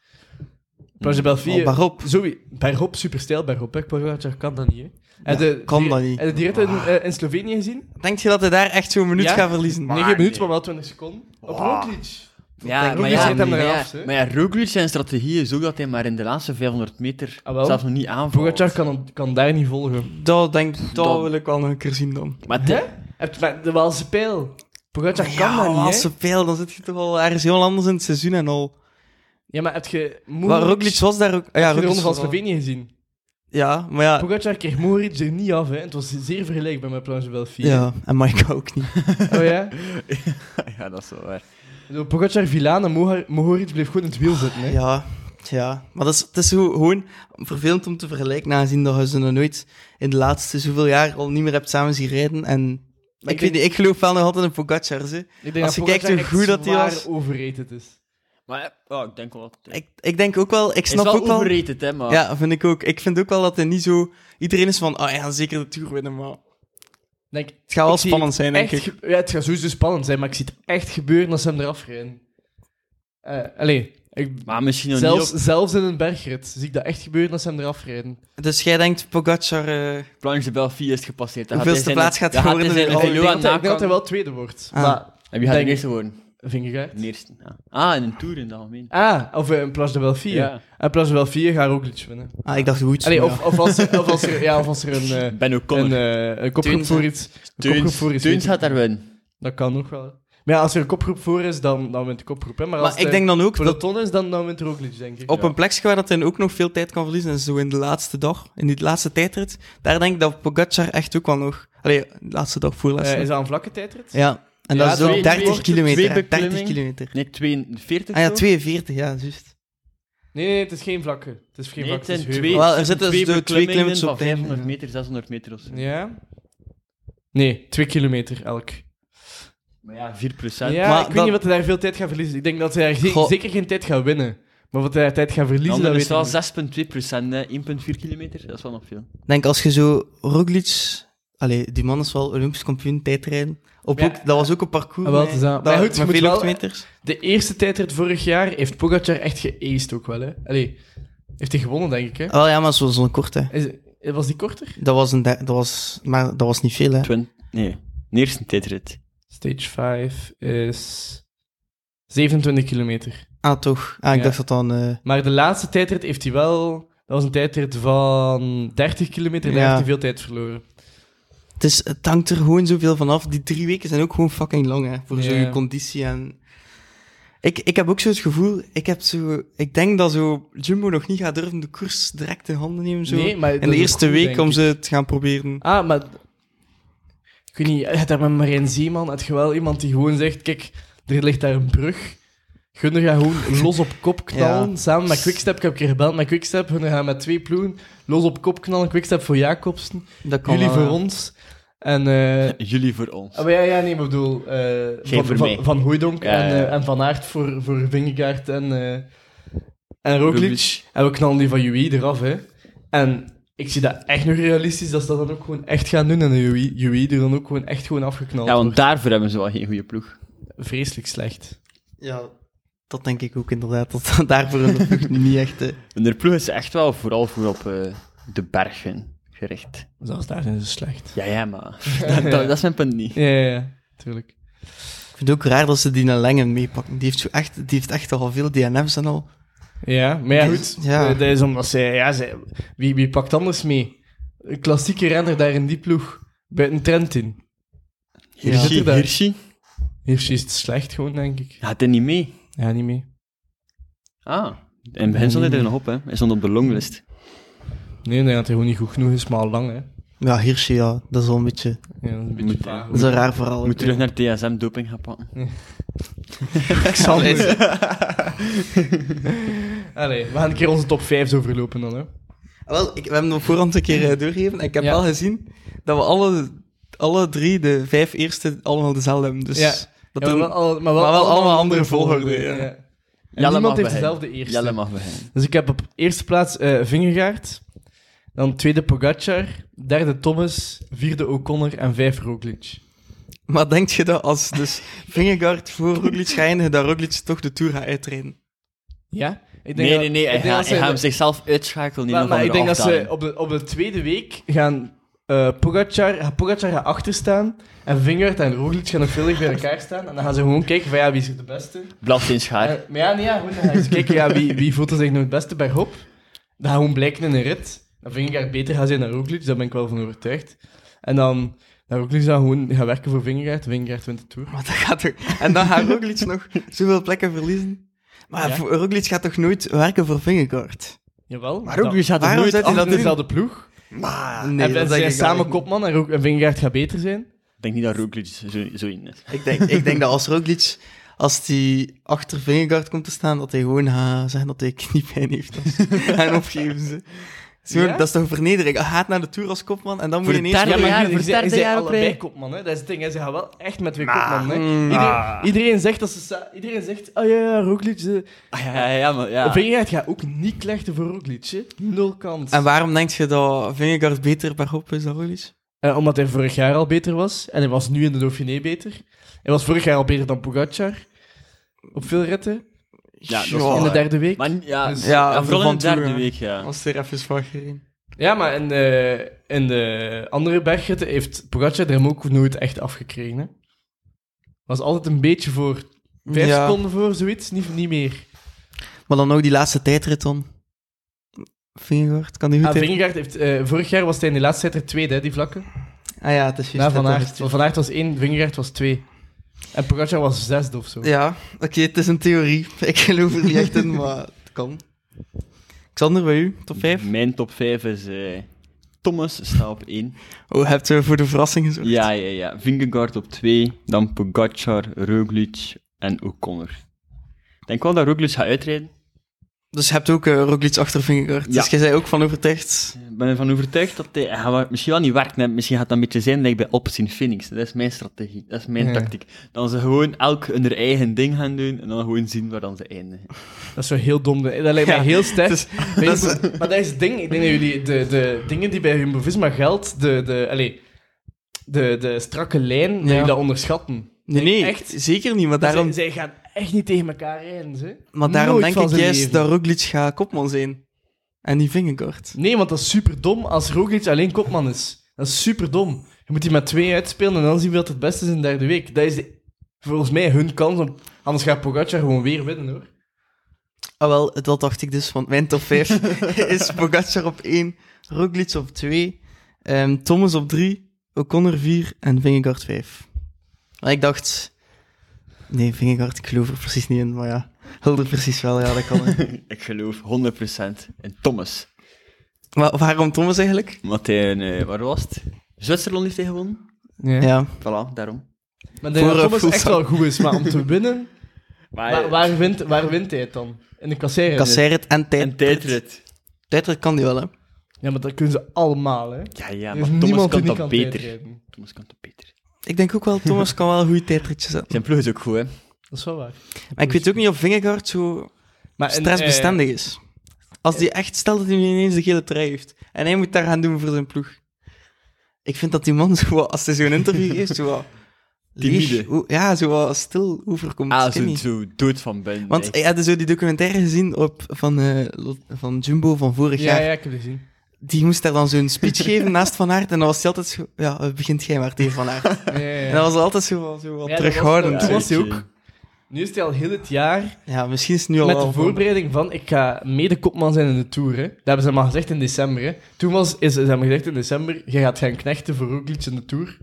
Planche de Belfie... Oh, waarop? Zowie, Bergop, superstijl Bergop. hè. Pogacar kan dat niet, hè. En Ja, kan die- dat niet. Ah. Heb je die rit in, eh, in Slovenië gezien? Denk je dat hij daar echt zo'n minuut Ja? gaat verliezen? 9 minuten, maar wel 20 seconden. Op Ah. Wow. Roglic. Ja, Roglic maar ja, zet hem maar, eraf, ja, hè. maar ja, Roglic zijn strategie is ook dat hij maar in de laatste 500 meter Ah, wel. zelfs nog niet aanvalt. Pogacar kan, kan daar niet volgen. Dat, denk, dat Dan- wil ik wel nog een keer zien dan. Maar het- Hè? Heb- Maar de Waalse pijl. Pogacar kan Ja, dat maar niet, hè? als ze veel, dan zit je toch al ergens heel anders in het seizoen en al. Ja, maar heb je Maar Moeric- Roglic was daar ook... Ja, heb je de Roglic ronde van was wel- Slovenië gezien? Ja, maar ja... Pogacar kreeg Moritz er niet af, hè. Het was zeer vergelijkbaar met Planche Belfie. Ja, en Mike ook niet. Oh ja? ja, dat is wel waar. Ik bedoel, Pogacar, Vilaan en Mohar- Mohoric bleef gewoon in het wiel zitten, hè. Ja, ja. Maar dat is, het is zo gewoon vervelend om te vergelijken, aangezien dat je ze nog nooit in de laatste zoveel jaar al niet meer hebt samen zien rijden. En ik, denk- weet niet, ik geloof wel nog altijd in Pogacar. Ze. Ik denk Als dat je kijkt Pogacar hoe echt goed dat hij zwaar was. overrated is. Maar ja, ik denk wel dat... Ik Ik, ik denk ook wel, ik snap snap is wel ook wel... overrated, hè, maar... Ja, vind ik ook. Ik vind ook wel dat hij niet zo... Iedereen is van, ah, hij gaat zeker de Tour winnen, maar... Denk, Het gaat wel ik zie spannend zijn, denk echt ik. ge- Ja, het gaat sowieso spannend zijn, maar ik zie het echt gebeuren als ze hem eraf rijden. Eh, allee, ik... Maar misschien nog Zelfs, niet op zelfs in een bergrit zie ik dat echt gebeuren als ze hem eraf rijden. Dus jij denkt, Pogacar... eh, Planche de Belfie is het gepasseerd. Dan Hoeveelste hij zijn- plaats gaat dan geworden hij in de zijn Oh, Ik Veloa denk dat- ik denk dat hij nakomen. wel tweede wordt. Ah. Maar En wie gaat de Denk- eerste worden? Vingegaard. De eerste. ja. Ah, in een Tour in het algemeen. Ah, of eh, een Place de Belfie. Ja. En Place de Belfie gaat Roglic winnen. Ah, ik dacht, goed. Allee, maar of, of, als er, of, als er, ja, of als er een, eh Ben een, O'Connor. eh, een kopgroep Teuns. voor iets. Een kopgroep Teuns, voor is Teuns beter. gaat daar winnen. Dat kan nog wel. Maar ja, als er een kopgroep voor is, dan, dan wint de kopgroep. Hè. Maar, ja. als Maar ik het, denk dan ook eh, dat peloton is, dan, dan wint Roglic, denk ik. op ja. een plekje waar dat hij ook nog veel tijd kan verliezen, en zo in de laatste dag, in die laatste tijdrit, daar denk ik dat Pogacar echt ook wel nog... Allee, de laatste dag voor Eh, laatste. is dat een vlakke tijdrit? Ja, en Ja, dat is twee- ook 30 twee- twee kilometer. hè. 30 beklimmingen. kilometer. Nee, 42 Ah ja, zo? 42, ja, juist. Nee, nee, het is geen vlakke. Het is geen Nee, vlakke, het zijn het is twee, heuvel. Wel, er het zijn zitten dus de twee beklimmingen klimmers op van het einde, 500 ja. meter, 600 meter of zo. Ja? Nee, twee kilometer elk. Maar ja, 4 procent. Ja, Maar ik weet dan- niet wat hij daar veel tijd gaat verliezen. Ik denk dat hij daar ge- Goh. zeker geen tijd gaat winnen. Maar wat hij daar tijd gaat verliezen, dat dat is weet ik wel niet. 6,2 procent, 1,4 kilometer. Dat is wel nog veel. Ik denk als je zo Roglic... Allee, die man is wel Olympisch kampioen tijdrijden. Op Ja. ook, dat was ook een parcours Ah, wel, met- het is aan- dat- maar goed, je met moet veel wel- hoogtemeters. De eerste tijdrit vorig jaar heeft Pogacar echt geaced ook wel, hè. Allee, heeft hij gewonnen, denk ik, hè. Ah, Wel ja, maar zo- zo'n korte. Is- was die korter? Dat was, een, der- dat was, maar dat was niet veel, hè. Twin... Nee, de eerste tijdrit. Stage 5 is 27 kilometer. Ah, toch. Ah, ik Ja. dacht dat dan... eh, Maar de laatste tijdrit heeft hij wel... Dat was een tijdrit van 30 kilometer, daar Ja. heeft hij veel tijd verloren. het, is, het hangt er gewoon zoveel van af. Die drie weken zijn ook gewoon fucking lang, hè. Voor Ja. zo'n conditie en... Ik, ik heb ook zo het gevoel... Ik, heb zo, ik denk dat zo Jumbo nog niet gaat durven de koers direct in handen nemen, zo. maar in dat is de ook eerste goed, week denk om ik. ze te gaan proberen. Ah, maar... Ik weet niet, had daar met Marijn Zeeman had je wel iemand die gewoon zegt... Kijk, er ligt daar een brug. Gunner gaat gewoon los op kop knallen. Samen met Quickstep. Ik heb een keer gebeld met Quickstep. Gunner gaat met twee ploegen los op kop knallen. Quickstep voor Jacobsen. Dat kan Jullie wel, voor ja. ons. En... eh, Jullie voor ons. ah, maar ja, ja, nee, maar ik bedoel... eh, van, voor van, mij. van Hooijdonk Ja, en, ja. eh, en Van Aert voor, voor Vingegaard en... eh en Roglic. En we knallen die van UI eraf, hè. En ik zie dat echt nog realistisch dat ze dat dan ook gewoon echt gaan doen. En de UI, UI er dan ook gewoon echt gewoon afgeknald Ja, want wordt. daarvoor hebben ze wel geen goede ploeg. Vreselijk slecht. Ja, dat denk ik ook inderdaad. Dat daarvoor in de ploeg niet echt. eh. En de ploeg is echt wel vooral voor op eh, de bergen gericht. Zelfs daar zijn ze slecht. Ja, ja, maar dat, dat, dat is mijn punt niet. Ja, ja, ja. Tuurlijk. Ik vind het ook raar dat ze die naar Lengen meepakken. Die heeft, zo echt, die heeft echt al veel DNF's en al. Ja, maar ja, goed. Ja. Eh, dat is omdat zij... Ja, zij wie, wie pakt anders mee? Een klassieke renner daar in die ploeg. Buiten Trentin. Hirschi, zit er daar. Hirschi. Hier is het slecht gewoon, denk ik. Gaat hij niet mee? Ja, niet mee. Ah, in het begin stond hij er nog op, hè. Hij stond op de longlist. Nee, nee, dat hij gewoon niet goed genoeg is, maar al lang, hè. Ja, Hirschi, ja, dat is wel een beetje. Ja, dat is een beetje Moet- vaag. Dat is een raar verhaal. Moet terug naar TSM doping gaan pakken. Xander. Allee, we gaan een keer onze top 5 zo verlopen dan, hè. Wel, ik, we hebben hem op voorhand een keer eh, doorgegeven. Ik heb Ja. wel gezien dat we alle, alle drie, de vijf eerste, allemaal dezelfde hebben. Dus Ja. dat Ja, er- maar, al- maar, maar wel allemaal andere volgorde, ja. En niemand heeft dezelfde eerste. Jelle mag beginnen. Dus ik heb op eerste plaats eh Vingegaard, dan tweede Pogacar, derde Thomas, vierde O'Connor en vijf Roglic. maar denk je dat als dus Vingegaard voor Roglic gaat eindigen, dat Roglic toch de Tour gaat uitrijden? Ja? Ik Nee, dat- nee, nee. ik Hij denk dat gaat ze- hij gaat hem zichzelf uitschakelen. in Maar, een maar of ik denk dat andere ze afdaling. op de, op de tweede week gaan eh Pogacar, gaat Pogacar gaan achterstaan en Vingegaard en Roglic gaan nog veel dichter bij elkaar staan en dan gaan ze gewoon kijken van ja, wie is er de beste? Blaft in schaar. Eh, maar ja, nee, ja, goed, dan gaan ze kijken ja, wie, wie voelt er zich nog het beste bij Hop. Dat gaat gewoon blijken in een rit. Dan Vingegaard beter gaan zijn dan Roglic, daar ben ik wel van overtuigd. En dan, dan Roglic dan gewoon gaan werken voor Vingegaard, Vingegaard wint de Tour. Maar dat gaat er, en dan gaat Roglic nog zoveel plekken verliezen. Maar Ja. voor- Roglic gaat toch nooit werken voor Vingegaard? Jawel. Maar ook, wie gaat er Waarom nooit zet hij af? dat dat doen? is dezelfde ploeg. Maar, en ze zijn samen kopman en, Rog- en Vingegaard gaat beter zijn. Ik denk niet dat Roglic zo, zo in is. Ik denk, ik denk dat als Roglic, als hij achter Vingegaard komt te staan, dat hij gewoon gaat zeggen dat hij kniepijn heeft. en opgeven ze. Zo, Ja? Dat is toch vernedering? Hij gaat naar de Tour als kopman en dan moet je Voor de ineens... derde maar- jaar, jullie voor het zijn- derde zijn jaar op allebei rij. kopman, hè. dat is het ding. hè. Ze gaan wel echt met twee Maar, kopmannen. Hè. mm, Iedereen, ah. iedereen zegt dat ze... sa- Iedereen zegt, oh ja, ja, Roglic... eh, Ah, ja, ja, ja, maar ja. Vingegaard gaat ook niet klechten voor Roglic, hè. Nul kans. En waarom denk je dat Vingegaard beter per hop is dan Roglic? Eh, omdat hij vorig jaar al beter was. En hij was nu in de Dauphiné beter. Hij was vorig jaar al beter dan Pogacar. Op veel ritten. Ja, dat is Tjoh. wel in de waar. derde week. Maar ja, Dus- ja, Ja, vooral in de van derde Tour, week, ja. Als er even van gereden. Ja, maar in de, in de andere bergritten heeft Pogacar er hem ook nooit echt afgekregen. Hè? Was altijd een beetje voor. Vijf Ja. seconden voor, zoiets. Niet, niet meer. Maar dan ook die laatste tijdrit dan. Vingegaard, kan die goed Ah, in? Vingegaard heeft... eh, vorig jaar was hij in de laatste tijd er tweede, hè, die vlakke. Ah ja, het is Na juist. Van dat dat Aert. is- Want Van Aert was één, Vingegaard was twee. En Pogacar was zesde of zo. Ja, oké, het is een theorie. Ik geloof er niet echt in, maar het kan. Xander, bij u, top 5? Mijn top 5 is eh, Thomas, staat op 1. Oh, hebt u voor de verrassing gezorgd? Ja, ja, ja. Vingegaard op 2, dan Pogacar, Roglic en O'Connor. Ik denk wel dat Roglic gaat uitrijden. Dus je hebt ook eh, Roglic achter Vingegaard. Ja. Dus jij zei ook van overtuigd. Ik ben ervan overtuigd dat hij, hij gaat misschien wel niet werkt, hè. misschien gaat dat een beetje zijn like bij Ops in Phoenix. Dat is mijn strategie, dat is mijn Ja. tactiek. Dan ze gewoon elk hun eigen ding gaan doen en dan gewoon zien waar dan ze eindigen. Dat is zo heel dom. Dat lijkt Ja, mij heel sterk. dus- Maar dat is- Jumbo- maar dat is het ding. Ik denk dat jullie de, de dingen die bij Jumbo-Visma geldt, de, de, allee, de, de strakke lijn, dat Ja. jullie dat onderschatten. Nee, Denk nee, echt. zeker niet. Maar daarom, Zij, zij gaan echt niet tegen elkaar rijden, ze. e- maar daarom Nooit denk van ik zijn juist leven. dat Roglic gaat kopman zijn. En niet Vingegaard. Nee, want dat is super dom als Roglic alleen kopman is. Dat is super dom. Je moet die met twee uitspelen en dan zien wie dat het beste is in de derde week. Dat is de- volgens mij hun kans. Om, anders gaat Pogacar gewoon weer winnen, hoor. Ah wel, dat dacht ik dus, want mijn top 5 is Pogacar op 1, Roglic op 2, ehm, Thomas op 3, O'Connor 4 en Vingegaard 5. Maar ik dacht... Nee, Vingegaard, ik geloof er precies niet in, maar ja. Hulder precies wel, ja, dat kan. hè. Ik geloof 100% in Thomas. maar waarom Thomas eigenlijk? Omdat hij, een, eh, waar was het? Zwitserland heeft hij gewonnen. Ja, Voilà, daarom. Maar ik denk Voor, dat eh, Thomas echt Fuglsang. wel goed is, maar om te winnen... Maar, Waar, waar, wint, waar wint hij het dan? In de kasseire? Kasseirit en en tijdrit. tijdrit. Tijdrit kan die wel, hè. dus. Ja, maar dat kunnen ze allemaal, hè. Ja, ja, Er is maar Thomas niemand die kan niet dat kan beter. tijdrijden. Thomas kan dat beter. Ik denk ook wel, Thomas kan wel een goede tijdritje zetten. Zijn ploeg is ook goed, hè. Dat is wel waar. Maar ik weet ook niet of Vingegaard zo Maar en, stressbestendig is. Als die echt, stel dat hij nu ineens de gele trui heeft. En hij moet daar gaan doen voor zijn ploeg. Ik vind dat die man zo wat, als hij zo'n interview geeft, zo wat... leeg, Timide. o- ja, zo wat stil overkomt. Ah, ik weet zo, niet. zo dood van binnen. Want echt. ik had zo die documentaire gezien op, van, eh, Lot- van Jumbo van vorig Ja, jaar. ja, ik heb het gezien. Die moest daar dan zo'n speech geven naast Van Aert. En dan was hij altijd zo... Ja, eh, begint jij maar tegen Van Aert. Ja, ja, ja. En dan was hij altijd zo, wat- zo wat Ja, dat was- eh, terughoudend. dat Ja, was- hij weet je. ook. Nu is hij al heel het jaar misschien is het nu al... met wel de van- voorbereiding van ik ga mede-kopman zijn in de Tour, hè. Dat hebben ze hem al gezegd in december, hè. Toen was, is, is hem gezegd in december, je gaat gaan knechten voor Roglic in de Tour.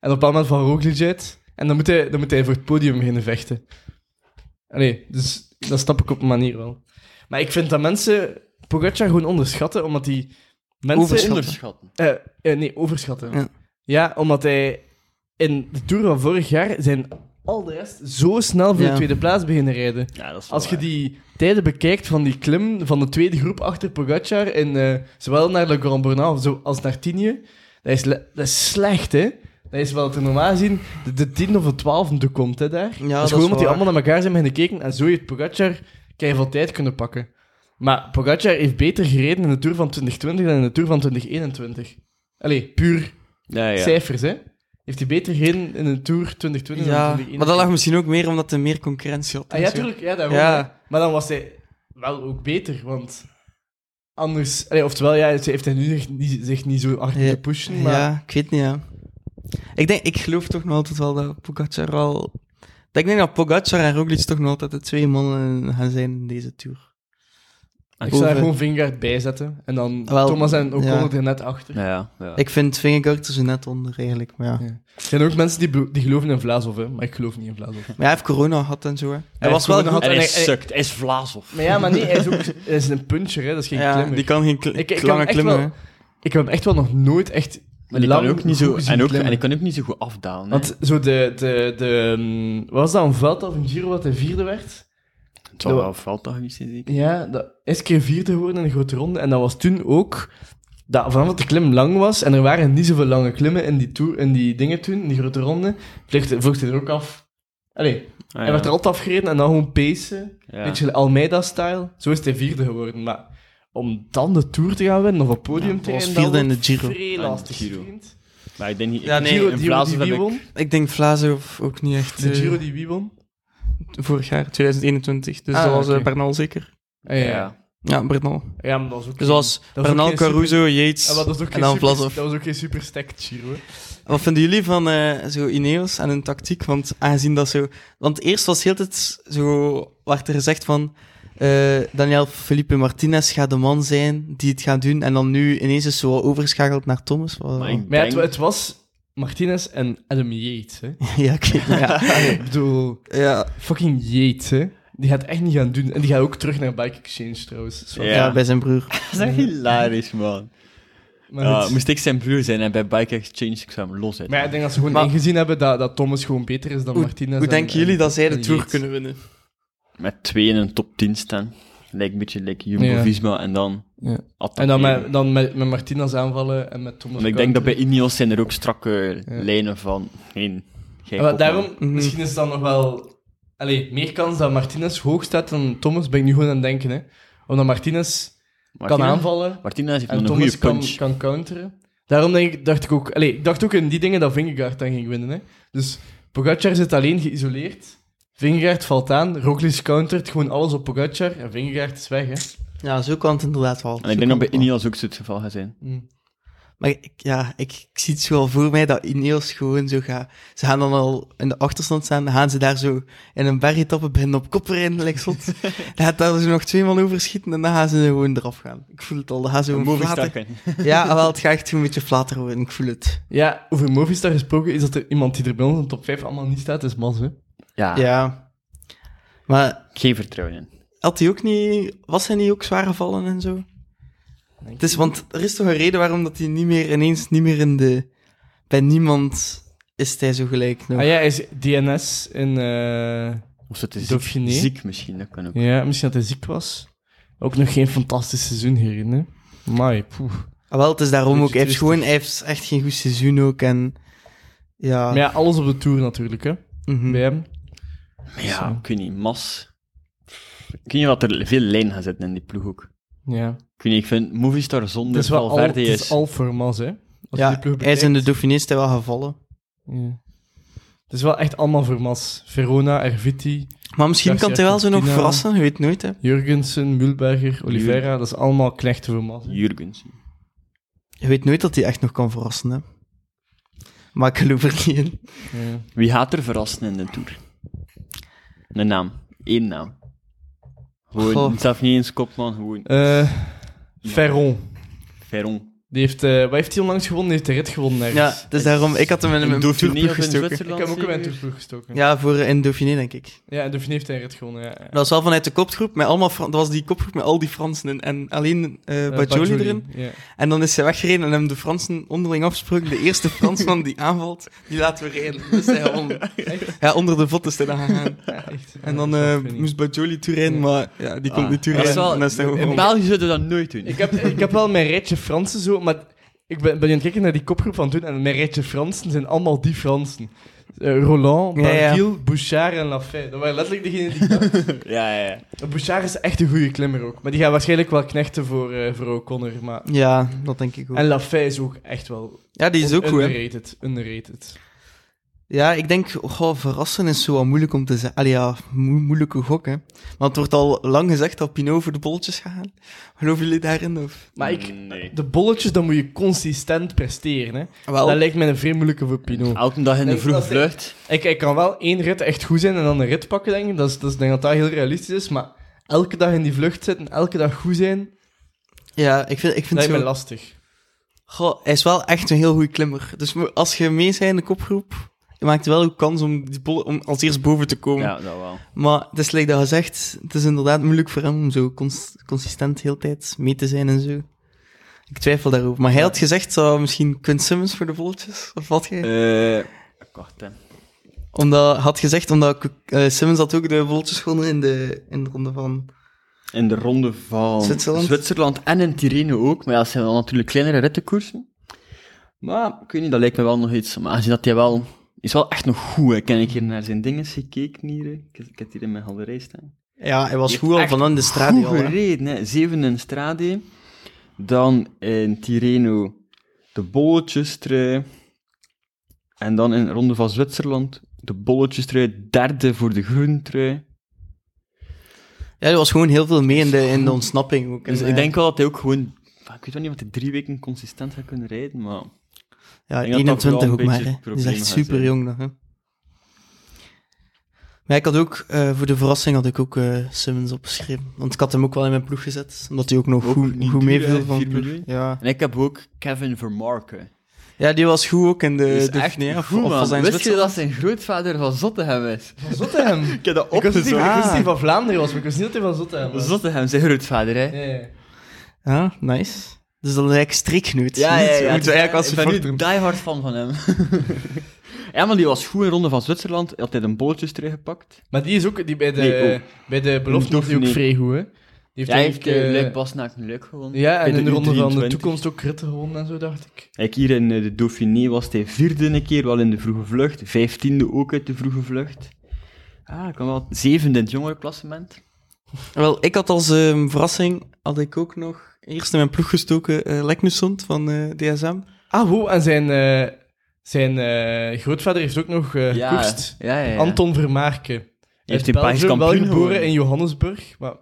En op een moment van Roglic uit. En dan moet, hij, dan moet hij voor het podium beginnen vechten. Allee, dus dat snap ik op een manier wel. Maar ik vind dat mensen Pogacar gewoon onderschatten, omdat die mensen... Overschatten. Onderschatten. Eh, eh, nee, overschatten. Ja. Ja. omdat hij in de Tour van vorig jaar zijn al de rest zo snel voor Ja. de tweede plaats beginnen rijden. Ja, dat is wel Als je waar. die tijden bekijkt van die klim van de tweede groep achter Pogacar, in, eh, zowel naar Le Grand Bornand zo- als naar Tienje, dat is, le- dat is slecht, hè? Dat is wel te normaal gezien de, de tiende of de twaalfde komt, hè, daar. Ja, dat dat is is gewoon omdat die waar. allemaal naar elkaar zijn beginnen kijken en zo heeft Pogacar keihard tijd kunnen pakken. Maar Pogacar heeft beter gereden in de Tour van 2020 dan in de Tour van 2021. Allee, puur Ja, ja. cijfers, hè? Heeft hij beter gereden in de Tour 2020 dan Ja, 2021? maar dat lag misschien ook meer omdat er meer concurrentie had. Ah, en ja, zo. tuurlijk. Ja, daarom, Ja. hè. Maar dan was hij wel ook beter, want anders... Allee, oftewel, ja, ze heeft hij nu zich niet, zich niet zo hard Ja. moeten pushen, maar... Ja, ik weet niet, ja. Ik, denk, ik geloof toch nog altijd wel dat Pogacar al... dat Ik denk dat Pogacar en Roglic toch nog altijd de twee mannen gaan zijn in deze Tour. Ik zou daar Over- gewoon Vingegaard bij zetten. En dan Wel, Thomas en Ocon ja. er net achter. Ja, ja, ja. Ik vind Vingegaard er zo net onder, eigenlijk. Maar ja. Ja. Er zijn ook mensen die, be- die geloven in Vlaasov, hè. Maar ik geloof niet in Vlaasov. Maar hij heeft corona gehad en zo, hè. Hij, heeft was wel corona goed. gehad. En hij en- sukt. Hij is Vlaasov. Maar ja, maar nee, hij is ook hij is een puncher, hè. Dat is geen Ja, klimmer. die kan geen kl Ik- ik kan lange echt klimmen, wel- hè. Ik heb hem echt wel nog nooit echt Maar die lang kan ook niet zo, goed zien en, ook, klimmen. en die kan ook niet zo goed afdalen. hè. Want zo de... de, de mm, wat was dat, een veld of een Giro wat hij vierde werd? Het zou wel Velddag geweest zijn, zeker. Ja, dat is een keer vierde geworden in de grote ronde. En dat was toen ook... Dat, vanaf dat de klim lang was, en er waren niet zoveel lange klimmen in die, toer, in die dingen toen, in die grote ronde, vluchtte, vluchtte er ook af. Allee, Ah, hij werd er altijd afgereden en dan gewoon pacen. ja. Beetje Almeida-style. Zo is hij vierde geworden. Maar om dan de Tour te gaan winnen of op podium Ja, te hij was rijden, dat vierde in wordt de Giro. vrij Ah, in de lastig, Giro. vriend. Maar ik denk niet... Ja, ik- nee, Giro, in die- Vlaasov die heb wie ik... won? Ik denk Vlaasov ook niet echt. De eh, Giro die wie won? Vorig jaar, 2021. Dus Ah, dat was eh, oké. Bernal zeker. Ah, ja. ja. Ja. Ja, Bernal. maar dat was ook Dus dat was ook Bernal, geen super- Caruso, Yates Ah, maar dat was en ook geen dan super- Vlaasov. Dat was ook geen super stacked Giro. hè. Wat vinden jullie van eh, zo Ineos en hun tactiek? Want aangezien dat zo... Want eerst was heel het zo... werd er gezegd van... eh, Daniel Felipe Martinez gaat de man zijn die het gaat doen. En dan nu ineens is zo overschakeld naar Thomas. Wat- Maar ik Maar ja, het, denk- het was Martinez en Adam Yates. Hè. ja, ik weet het, ja. ik bedoel, ja. fucking Yates. Hè. Die gaat het echt niet gaan doen. En die gaat ook terug naar Bike Exchange trouwens. Zo. Ja. ja, bij zijn broer. Dat is echt hilarisch, man. Maar, Ja, het- Ah, moest ik zijn broer zijn en bij Bike Exchange ik zou hem los maar ja, ik denk dat ze gewoon Maar- ingezien hebben dat, dat Thomas gewoon beter is dan Martinez. Hoe en- denken en- jullie dat zij de en Tour Yates. kunnen winnen? Met twee in een top 10 staan. Lijkt een beetje like Ja. Jumbo-Visma en dan... Ja. En attackeren. dan, met, dan met, met Martinez aanvallen en met Thomas Want ik denk dat bij counteren. Ineos zijn er ook strakke Ja. lijnen van... Nee, jij Maar kop, daarom, man. Mhm. misschien is het dan nog wel... Allee, meer kans dat Martinez hoog staat dan Thomas, ben ik nu gewoon aan het denken. Hè. Omdat Martinez kan Martinez- aanvallen... Martinez heeft En nog een Thomas goede kan, punch. kan counteren. Daarom denk ik, dacht ik ook... Allee, ik dacht ook in die dingen dat Vingegaard dan ging winnen. Hè. Dus Pogacar zit alleen geïsoleerd. Vingegaard valt aan. Roglic countert gewoon alles op Pogacar. En Vingegaard is weg, hè. Ja, zo kan het inderdaad wel. En ik Zo denk kan dat bij het wel. Ineos ook zo het geval gaat zijn. Maar ik, ja, ik, ik zie het zo al voor mij dat Ineos gewoon zo gaat. Ze gaan dan al in de achterstand staan, dan gaan ze daar zo in een bergetappe beginnen op kop rijden, like zot. dan gaat daar zo nog twee man over schieten en dan gaan ze gewoon eraf gaan. Ik voel het al, dan gaan ze gewoon flater. stakken. Ja, wel, het gaat echt een beetje flater worden, ik voel het. Ja, over Movistar gesproken is dat er iemand die er bij ons in de top 5 allemaal niet staat, is Mas, hè. Ja, Ja. Maar geen vertrouwen in. had hij ook niet, was hij niet ook zwaar gevallen en zo? Het is, want er is toch een reden waarom dat hij niet meer ineens, niet meer in de, bij niemand is hij zo gelijk. nog. Ah ja, hij is DNS in... eh, Of ze te Dauphiné. ziek, ziek misschien, dat kan ook. Ja, misschien dat hij ziek was. Ook nog geen fantastisch seizoen hierin, hè. Mai, poeh. Ah, wel, het is daarom Beetje ook. Hij heeft, triestig. gewoon, hij heeft echt geen goed seizoen ook. En ja, Maar ja, alles op de Tour natuurlijk, hè. mhm. Bij hem. Maar ja, Zo. ik weet niet, Mas... Ik weet niet wat er veel lijn gaan zitten in die ploeg ook. Ja. Ik weet niet, ik vind Movistar Het zonder is wel al, het Valverde is... is al voor Mas, hè. Als je Ja, die ploeg hij is in de bekijkt. Dauphiné is hij wel gevallen. Ja. Het is wel echt allemaal voor Mas. Verona, Erviti, Maar misschien Daar kan is hij wel zo nog Argentina. verrassen, je weet nooit. Hè. Jurgensen, Mühlberger, Oliveira. Dat is allemaal knechten voor Mas. hè. Jurgens. Je weet nooit dat hij echt nog kan verrassen. Hè. Maar ik geloof er niet in. Ja. Wie gaat er verrassen in de Tour? Een naam. Eén naam. Gewoon, Goh. zelf niet eens kopman, gewoon Eh, Ferron. Ferron. Die heeft, eh, wat heeft hij onlangs gewonnen? Die heeft de rit gewonnen ergens. Ja, dus daarom, ik had hem in In mijn Dauphiné tourploeg of in gestoken. Ik Zwitserland. heb hem ook in mijn zeker? toerploeg gestoken. Ja, voor eh, in Dauphiné, denk ik. ja en Dauphiné heeft een rit gewonnen. Ja. Dat was wel vanuit de kopgroep, met allemaal Fran- dat was die kopgroep met al die Fransen in. En alleen eh Bajoli erin. Ja. En dan is hij weggereden en hebben de Fransen onderling afgesproken. De eerste Fransman die aanvalt, die laten we rijden. Dus hij won. Echt? Ja, onder de vod is hij dan gegaan. Ja, echt. En dan Dat is wel eh, funny. moest Bajoli toerijden, Ja. maar ja, die kon Ah, niet dat is toerijden. wel- en dan is Oh. hij gewoon In gewonnen. België zouden we dat nooit doen. Ik heb, ik heb wel mijn rijtje Fransen zo, maar ik ben, ben aan het kijken naar die kopgroep van toen en mijn rijtje Fransen zijn allemaal die Fransen. Eh, Roland, Ja, ja. Barguil, Bouchard en Lafay. Dat waren letterlijk degenen die... Ja, ja, ja. Bouchard is echt een goede klimmer ook, maar die gaat waarschijnlijk wel knechten voor, eh voor O'Connor. Maar... Ja, dat denk ik ook. En Lafay is ook echt wel ja, die is un- ook goed, hè. underrated. underrated. Ja, ik denk, goh, verrassen is zo wat moeilijk om te zeggen. Allee, ja, moe- moeilijke gok, hè. Want het wordt al lang gezegd dat Pinot voor de bolletjes gaat. Geloven jullie daarin, of? Maar ik, Nee. de bolletjes, dan moet je consistent presteren. Hè. Dat lijkt mij een vrij moeilijke voor Pinot. Elke dag in de Nee, vroege dat is- vlucht. Ik, ik kan wel één rit echt goed zijn en dan een rit pakken, denk ik. Dat is, dat is denk ik dat dat heel realistisch is. Maar elke dag in die vlucht zitten, elke dag goed zijn, Ja, ik vind, ik dat vind is me zo... lastig. Goh, hij is wel echt een heel goede klimmer. Dus mo- als je mee bent in de kopgroep, je maakt wel een kans om, die bolle- om als eerst boven te komen. Ja, dat wel. Maar het is like dat gezegd, het is inderdaad moeilijk voor hem om zo cons- consistent heel de tijd mee te zijn en zo. Ik twijfel daarover. Maar hij had gezegd, zou misschien Quint Simmons voor de bolletjes? Of wat jij? Eh wacht, hè. Omdat, had gezegd, omdat eh, Simmons had ook de bolletjes gewonnen in de, in de ronde van... In de ronde van Zwitserland? Zwitserland en in Tirreno ook. Maar ja, dat zijn wel natuurlijk kleinere rittenkoersen. Maar ik weet niet, dat lijkt me wel nog iets. Maar aangezien dat hij wel... Is wel echt nog goed, hè. Ik heb een keer naar zijn dingen gekeken hier. hè. Ik, ik heb het hier in mijn galerij staan. Ja, hij was Die goed al heeft van aan de straat. goed al, hè. gereden, hè. Zeven in Strade. Dan in Tirreno de bolletjestrui. En dan in de ronde van Zwitserland de bolletjestrui. Derde voor de groentrui. Ja, er was gewoon heel veel mee in de, in de ontsnapping ook. En, Dus ik eh, denk wel dat hij ook gewoon... Ik weet wel niet of hij drie weken consistent gaat kunnen rijden, maar... Ja, Ik denk dat dat vooral 21 een ook maar. hè. beetje Die is het probleem echt gaat super zijn. jong nog. Hè. Maar ik had ook, eh, voor de verrassing had ik ook eh, Simmons opgeschreven. Want ik had hem ook wel in mijn ploeg gezet. Omdat hij ook nog Ook goed, niet goed duur, meeviel hè, van de 4 ploeg. miljoen. Ja. En ik heb ook Kevin Vermarken. ja, die was goed ook in de Die is de- echt nee, of- goed, of man. was hij in Wist je Zwitserland? dat zijn grootvader van Zottegem is? Van Zottegem. Ik heb dat ik wist niet ik wist niet dat Ah. hij van Vlaanderen was, maar ik wist niet dat hij van Zottegem was. Zottegem, zijn grootvader, hè? Ja, ja. Ja, nice. Dus dat is eigenlijk streekgenoot. Moet je eigenlijk als ik ben supporter nu doen. diehard fan van hem. ja, maar die was goed in Ronde van Zwitserland. Hij had hij een bolletjes teruggepakt. Maar die is ook, die bij de, Nee, oh. bij de belofte was die ook Dauphiné. vrij goed, hè. Die heeft Hij heeft ook, uh, eh, Luik Basnaak nu leuk gewonnen. Ja, Bij en in de ronde van de U23. toekomst ook ritten gewonnen en zo, dacht ik. Kijk, hier in eh, de Dauphiné was hij vierde een keer, wel in de vroege vlucht. Vijftiende ook uit de vroege vlucht. Ah, ik kan wel zevende in het jongere klassement. Wel, ik had als ehm, verrassing, had ik ook nog eerst in mijn ploeg gestoken eh Leknusund van eh, DSM. Ah, hoe? En zijn, eh, zijn eh, grootvader heeft ook nog eh gekoerst. ja, ja, ja. Anton Vermaarke. Hij heeft Uit in Parijs Belgium, kampioen wel geboren geworden. in Johannesburg, maar...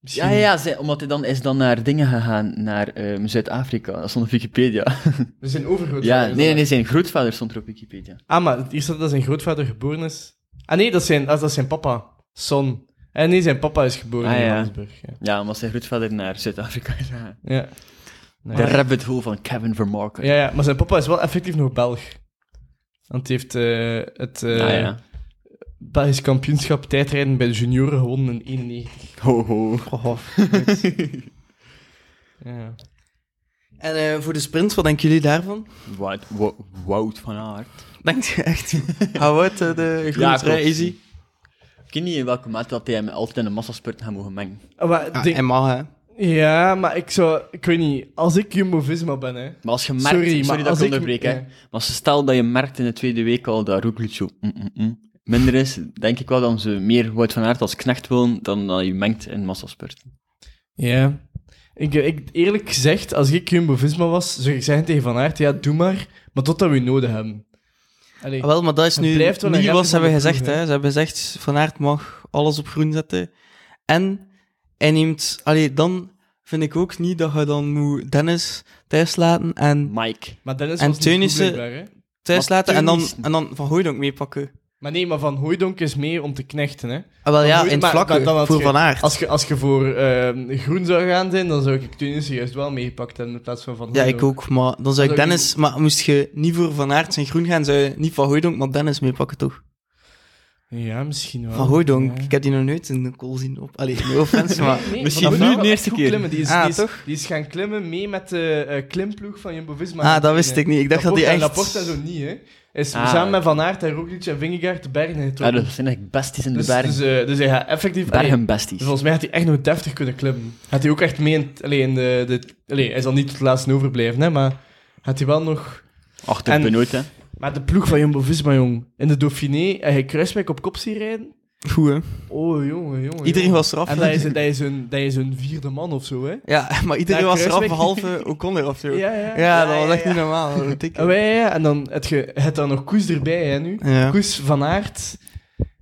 misschien- Ja, ja, ja zij- omdat hij dan is dan naar dingen gegaan, naar ehm, Zuid-Afrika. Dat stond op Wikipedia. Dat is zijn overgrootvader. ja, is nee, dat. nee, zijn grootvader stond er op Wikipedia. Ah, maar hier staat dat zijn grootvader geboren is. Ah nee, dat is zijn, ah, dat is zijn papa. Son. En nee, zijn papa is geboren Ah, in ja. Johannesburg. Ja. Ja, omdat zijn grootvader naar Zuid-Afrika is gegaan. Ja. De Nee. rabbit hole van Kevin Vermarker. ja, ja, maar zijn papa is wel effectief nog Belg. Want hij heeft eh, het eh, Ah, ja. Belgisch kampioenschap tijdrijden bij de junioren gewonnen in 91. Ho, ho. Ja. En eh, voor de sprint, wat denken jullie daarvan? Wout, Wo- Wout van Aert. Denkt je echt? Hou uit eh, de groene trui, klopt. easy. Ik weet niet in welke mate dat hij hem altijd in de massaspurt gaat mogen mengen. Ah, Maar, Ja, denk- en mag, hè. Ja, maar ik zou... Ik weet niet. Als ik Jumbo-Visma ben, hè... Maar als je merkt... Sorry, Sorry, maar dat als ik ik- onderbreek, hè. ja. Maar als stel dat je merkt in de tweede week al dat Roglic zo mm, mm, mm, minder is, denk ik wel dat ze meer Wout van Aert als knecht willen dan dat je mengt in massaspurten. Ja. Ik, ik, eerlijk gezegd, als ik Jumbo-Visma was, zou ik zeggen tegen Van Aert, ja, doe maar, maar totdat we je nodig hebben. Allee. Ah, Wel, maar dat is Het nu... blijft wel een nu redding was, van hebben de gezegd, ploeg, hè. hè. Ze hebben gezegd, Van Aert mag alles op groen zetten. En hij neemt... Allee, dan vind ik ook niet dat je dan moet Dennis thuis laten en Mike. Maar Dennis En was niet goed Teunissen- blijkbaar, hè. thuis Maar laten en dan, Teunissen. en dan Van Hooydonk meepakken. Maar nee, maar Van Hooijdonk is mee om te knechten, hè. Ah, wel ja, Hoe- in het maar- vlakke, maar dan had voor je- Van Aert. Als je, als je voor ehm, groen zou gaan zijn, dan zou ik Tunesië juist wel meegepakt hebben in plaats van Van Ja, Hooijdonk. ik ook, maar dan zou ik zou ik Dennis... Maar moest je niet voor Van Aert en Groen gaan, zou je niet Van Hooijdonk, maar Dennis meepakken, toch? Ja, misschien wel. Van Hooijdonk, Ja. ik heb die nog nooit in de kool zien op... Allee, no offense, maar... Nee, Misschien Van nu Hooijdonk de gaat eerste goed keer. Klimmen. Die, is, Ah, die, is, toch? die is gaan klimmen mee met de eh, klimploeg van Jumbo-Visma. Ah, dat wist ik niet. Ik dacht dat die echt... Laporte en zo niet, hè. Is Ah. samen met Van Aert en Roglic en Vingegaard de bergen Ja, getrokken. dat zijn echt besties in de dus, bergen. dus, eh, dus hij gaat effectief... allee, Bergenbesties. Volgens mij had hij echt nog deftig kunnen klimmen. Had hij ook echt mee in... t- Allee, in de, de, allee, hij zal niet tot het laatste overblijven, hè, maar... Had hij wel nog... Achter en- Benoot, hè. Maar de ploeg van Jumbo-Visma, jong. In de Dauphiné, en hij Kruiswijk op kop zien rijden. Goed, hè? Oh, jongen, jongen. Iedereen jongen. was eraf. En dat is, dat, is een, dat is een vierde man of zo, hè? Ja, maar iedereen Ja, was eraf, Kruiswijk. behalve Ocon eraf, zo. Ja, ja. dat was echt ja. niet normaal. dat weet ik. Ah, ja, ja. En dan heb je het dan nog Koes erbij, hè, nu. Ja. Koes van Aert.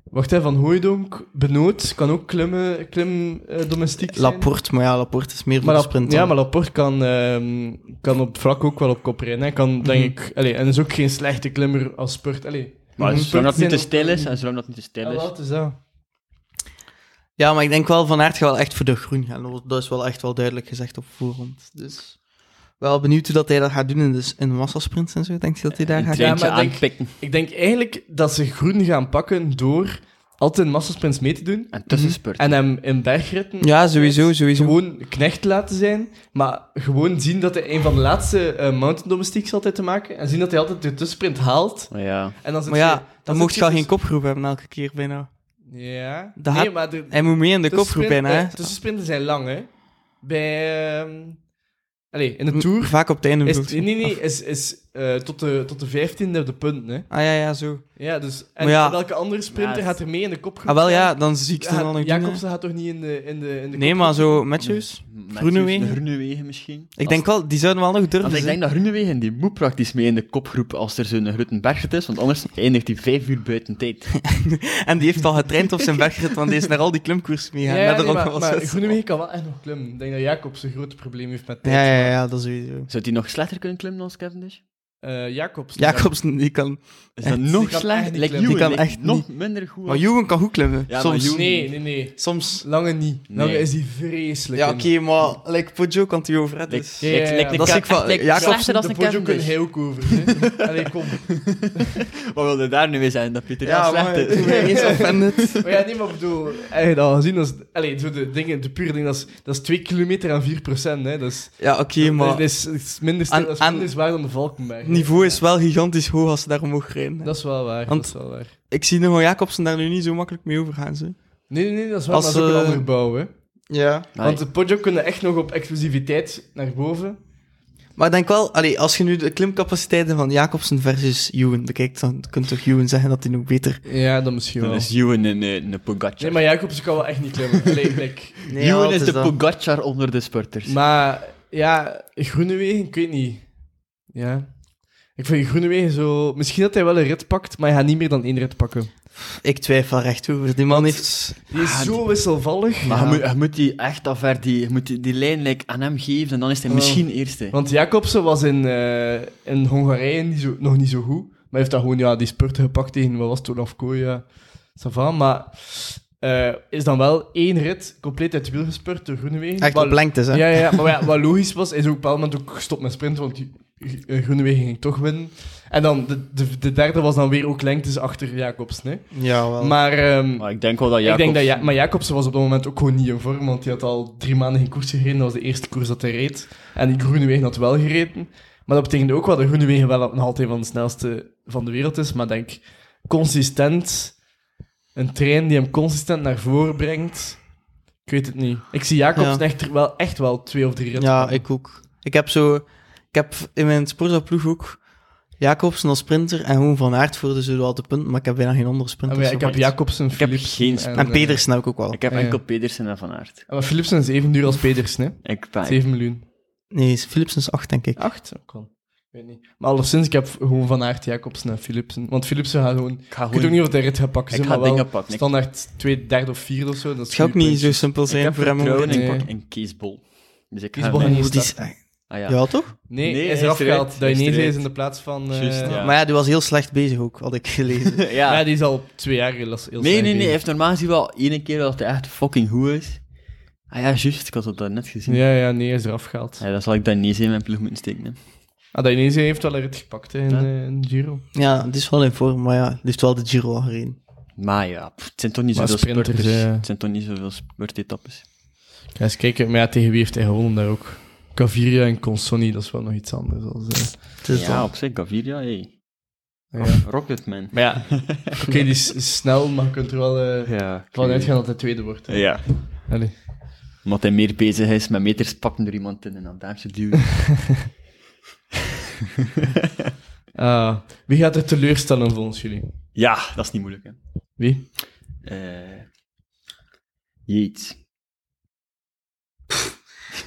Wacht, hè, Van Hooijdonk, Benoot, kan ook klimmen, klim eh, domestiek zijn. Laporte, maar ja, Laporte is meer voor Maar de Lap- sprint. ja, dan. maar Laporte kan, ehm, kan op vlak ook wel op kop rijden. Hij kan, denk Mhm. ik, allee, en is ook geen slechte klimmer als spurt. Allee, Maar Mhm. zolang dat niet te Zijn- stil is, en zolang dat niet te stil ah, is... wel, het is dat. Ja, maar ik denk wel van Aert gaat wel echt voor de groen gaan. Dat is wel echt wel duidelijk gezegd op voorhand. Dus wel benieuwd hoe dat hij dat gaat doen in de, in de massasprints en zo. Denk je dat hij daar Een gaat trein. treintje maar denk- aanpikken. Ik denk eigenlijk dat ze groen gaan pakken door altijd massasprints mee te doen En tussenspurt. Mhm. en hem in bergritten Ja, sowieso, sowieso. gewoon knecht laten zijn, maar gewoon zien dat hij een van de laatste eh, mountain domestiques altijd te maken en zien dat hij altijd de tussensprint haalt. Ja. En dan zit Maar je- ja, dan mocht je al geen zit je kopgroep hebben elke keer bijna. dus- Ja. Dat nee, had- maar de, Hij moet mee in de kopgroep bijna, hè. eh, tussensprinten zijn lang, hè. Bij... ehm, Allee, in de M- Tour... Vaak op het einde. Is, bedoelt- nee, nee, is, is eh, tot, de, tot de 15e op de punten, hè. Ah ja, ja, zo. Ja, dus... En Maar ja. welke andere sprinter Ja, gaat er mee in de kopgroep? Ah, wel gaan? ja, dan zie ik ze Ja, dan nog doen, hè. Jacobsen gaat toch niet in de, in de, in de Nee, kopgroep? maar zo matches. Groenewegen? De Groenewegen misschien. Ik denk wel, die zouden wel nog durven Want ik zijn. denk dat Groenewegen die moet praktisch mee in de kopgroep als er zo'n grote bergrit is, want anders eindigt hij vijf uur buiten tijd. En die heeft al getraind op zijn bergrit, want die is naar al die klimkoers Ja, meegaan. ja, naar de nee, Ronde maar, van maar Zwitserland. Groenewegen kan wel echt nog klimmen. Ik denk dat Jacobsen een groot probleem heeft met tijd. Ja, ja, ja, dat sowieso. Zou hij nog slechter kunnen klimmen dan Cavendish? Eh, Jacobsen. Jacobsen, die kan... Is Echt, dat die nog kan echt slechter? niet Like klimmen. Ewan, Die kan lijkt echt nog niet. minder goed. Maar Juwen kan goed klimmen, Ja, maar soms. Juwen- Nee, nee, nee. Soms. Lange niet. Lange Nee. is die vreselijk. Ja, in. oké, maar like, Poggio kan het hier over hebben. Dus. Like- like- Ja, ja, like- ja. like- Dat is kan ik van- echt, like, Jacobsen, slechter dan de een Poggio kun Cavendish. hij ook over. hè. Allee, kom. Wat wilde daar nu weer zijn? Dat Pieter Ja, ja, maar slecht is? ik ben eens offended. Maar ja, nee, maar ik bedoel, heb je dat al gezien? Dat is, allee, zo de, dingen, de pure dingen, dat is, dat is 2 kilometer aan 4 procent. Hè. Dat is, Ja, oké, dat maar... is, dat is minder, stil, Aan- dat is aan- minder zwaar dan de Valkenberg. Het hè. niveau is wel gigantisch hoog als ze daar omhoog rijden. Dat is wel waar. Want- dat is wel waar. Ik zie nog wel Jacobsen daar nu niet zo makkelijk mee overgaan, ze. Nee, nee, nee, dat is wel Als, dat is ook eh, een ander bouw, hè. Ja. Want de Poggio kunnen echt nog op exclusiviteit naar boven. Maar ik denk wel, allee, als je nu de klimcapaciteiten van Jacobsen versus Juwen bekijkt, dan kun je toch Juwen zeggen dat hij nog beter... Ja, dan misschien Dan wel. is Ewan een, eh, een, een Pogacar. Nee, maar Jacobsen kan wel echt niet klimmen. Allee, like. Ewan is de Pogacar onder de sporters. Maar ja, Groenewegen, ik weet niet. Ja. Ik vind Groenewegen zo... Misschien dat hij wel een rit pakt, maar hij gaat niet meer dan één rit pakken. Ik twijfel recht over. Die man heeft... Die is Ah, zo wisselvallig. Maar Ja. je, moet, je moet die echt dat ver, die, je moet die, die lijn like, aan hem geven en dan is hij Oh. misschien eerste. Want Jacobsen was in, eh, in Hongarije niet zo, nog niet zo goed. Maar hij heeft daar gewoon ja, die spurten gepakt tegen, wat was het, Olaf Kooi, Savan. Maar eh, is dan wel één rit compleet uit het wiel gespurt door Groenewegen. Echt Wat- op blanktes, hè. Ja, ja, ja, maar ja, wat logisch was, is ook op een bepaald moment ook gestopt met sprinten, want die- eh, Groenewegen ging toch winnen. En dan de, de, de derde was dan weer ook lengtes achter Jacobsen. Hè. Jawel. Maar, ehm, Maar ik denk wel dat ik Jacobsen... denk dat ja, maar Jacobsen was op dat moment ook gewoon niet in vorm, want die had al drie maanden geen koers gereden. Dat was de eerste koers dat hij reed. En die Groenewegen had wel gereden. Maar dat betekende ook wel dat Groenewegen wel nog altijd van de snelste van de wereld is. Maar denk, consistent, een trein die hem consistent naar voren brengt. Ik weet het niet. Ik zie Jacobsen Ja. echt, wel, echt wel twee of drie ritten. Ja, pakken. ik ook. Ik heb zo... Ik heb in mijn sportploeg ook Jacobsen als sprinter en gewoon Van Aert voor de zo wel de punten, maar ik heb bijna geen andere Ah, sprinters. maar ja, ik heb gemaakt. Jacobsen, heb Philips. geen sp- En Pedersen heb ik ook wel. Ik heb Ja, ja. enkel Pedersen en Van Aert. Maar Philipsen is even duur als Pedersen, hè? Ik ben... 7 miljoen. Nee, Philipsen is acht, denk ik. Acht? Ook al. Ik weet niet. Maar alleszins, ik heb gewoon Van Aert, Jacobsen en Philipsen. Want Philipsen gaat gewoon... Ik ga Ik weet ook gewoon... niet of hij rit gaat pakken. Ik ze, ga maar wel dingen pakken. Ik, Standaard twee, derde of vierde of zo. Dat is Het gaat ook goeie niet zo puntjes. simpel ik zijn heb voor hem. om- vertrouwen in, Nee. pak- in Kees Bol. Dus ik Kees ga Bol mijn- en Hoe die is- Ah ja. Ja, toch? Nee, Nee, hij is hij eraf is eruit. gehaald. Dat Hij is Indonesië eruit. is in de plaats van... eh, Juist, ja. Maar ja, die was heel slecht bezig ook, had ik gelezen. ja. ja, die is al twee jaar heel heel Nee, slecht nee, nee. bezig. Hij heeft normaal gezien wel één keer dat hij echt fucking goed is. Ah ja, juist. Ik had dat net gezien. Ja. Ja, ja, nee, hij is eraf gehaald. dan zal ik dat niet eens in mijn ploeg moeten steken. Hè. Ah, dat Indonesië heeft wel eruit gepakt hè, in, Ja. eh, in Giro. ja, het is wel in vorm, maar ja, het heeft wel de Giro al gereden. Maar ja, pff, het zijn toch niet Maar zoveel sprinters, spurters. eh. Het zijn toch niet zoveel spurtetappes. Ja, eens kijken. Maar ja, tegen wie heeft hij gewonnen daar ook? Gaviria en Consoni, dat is wel nog iets anders. Als, eh, Het is ja, wel- op zich, Gaviria, hey. ja. Rocketman. Maar ja, oké, die is is snel, maar je kunt er wel eh, Ja. van uitgaan dat hij tweede wordt. hè. Ja. Allee. Omdat hij meer bezig is met meters pakken door iemand in een adamsje duwen. Ah, wie gaat er teleurstellen volgens jullie? ja, dat is niet moeilijk, hè. Wie? Eh Jeets.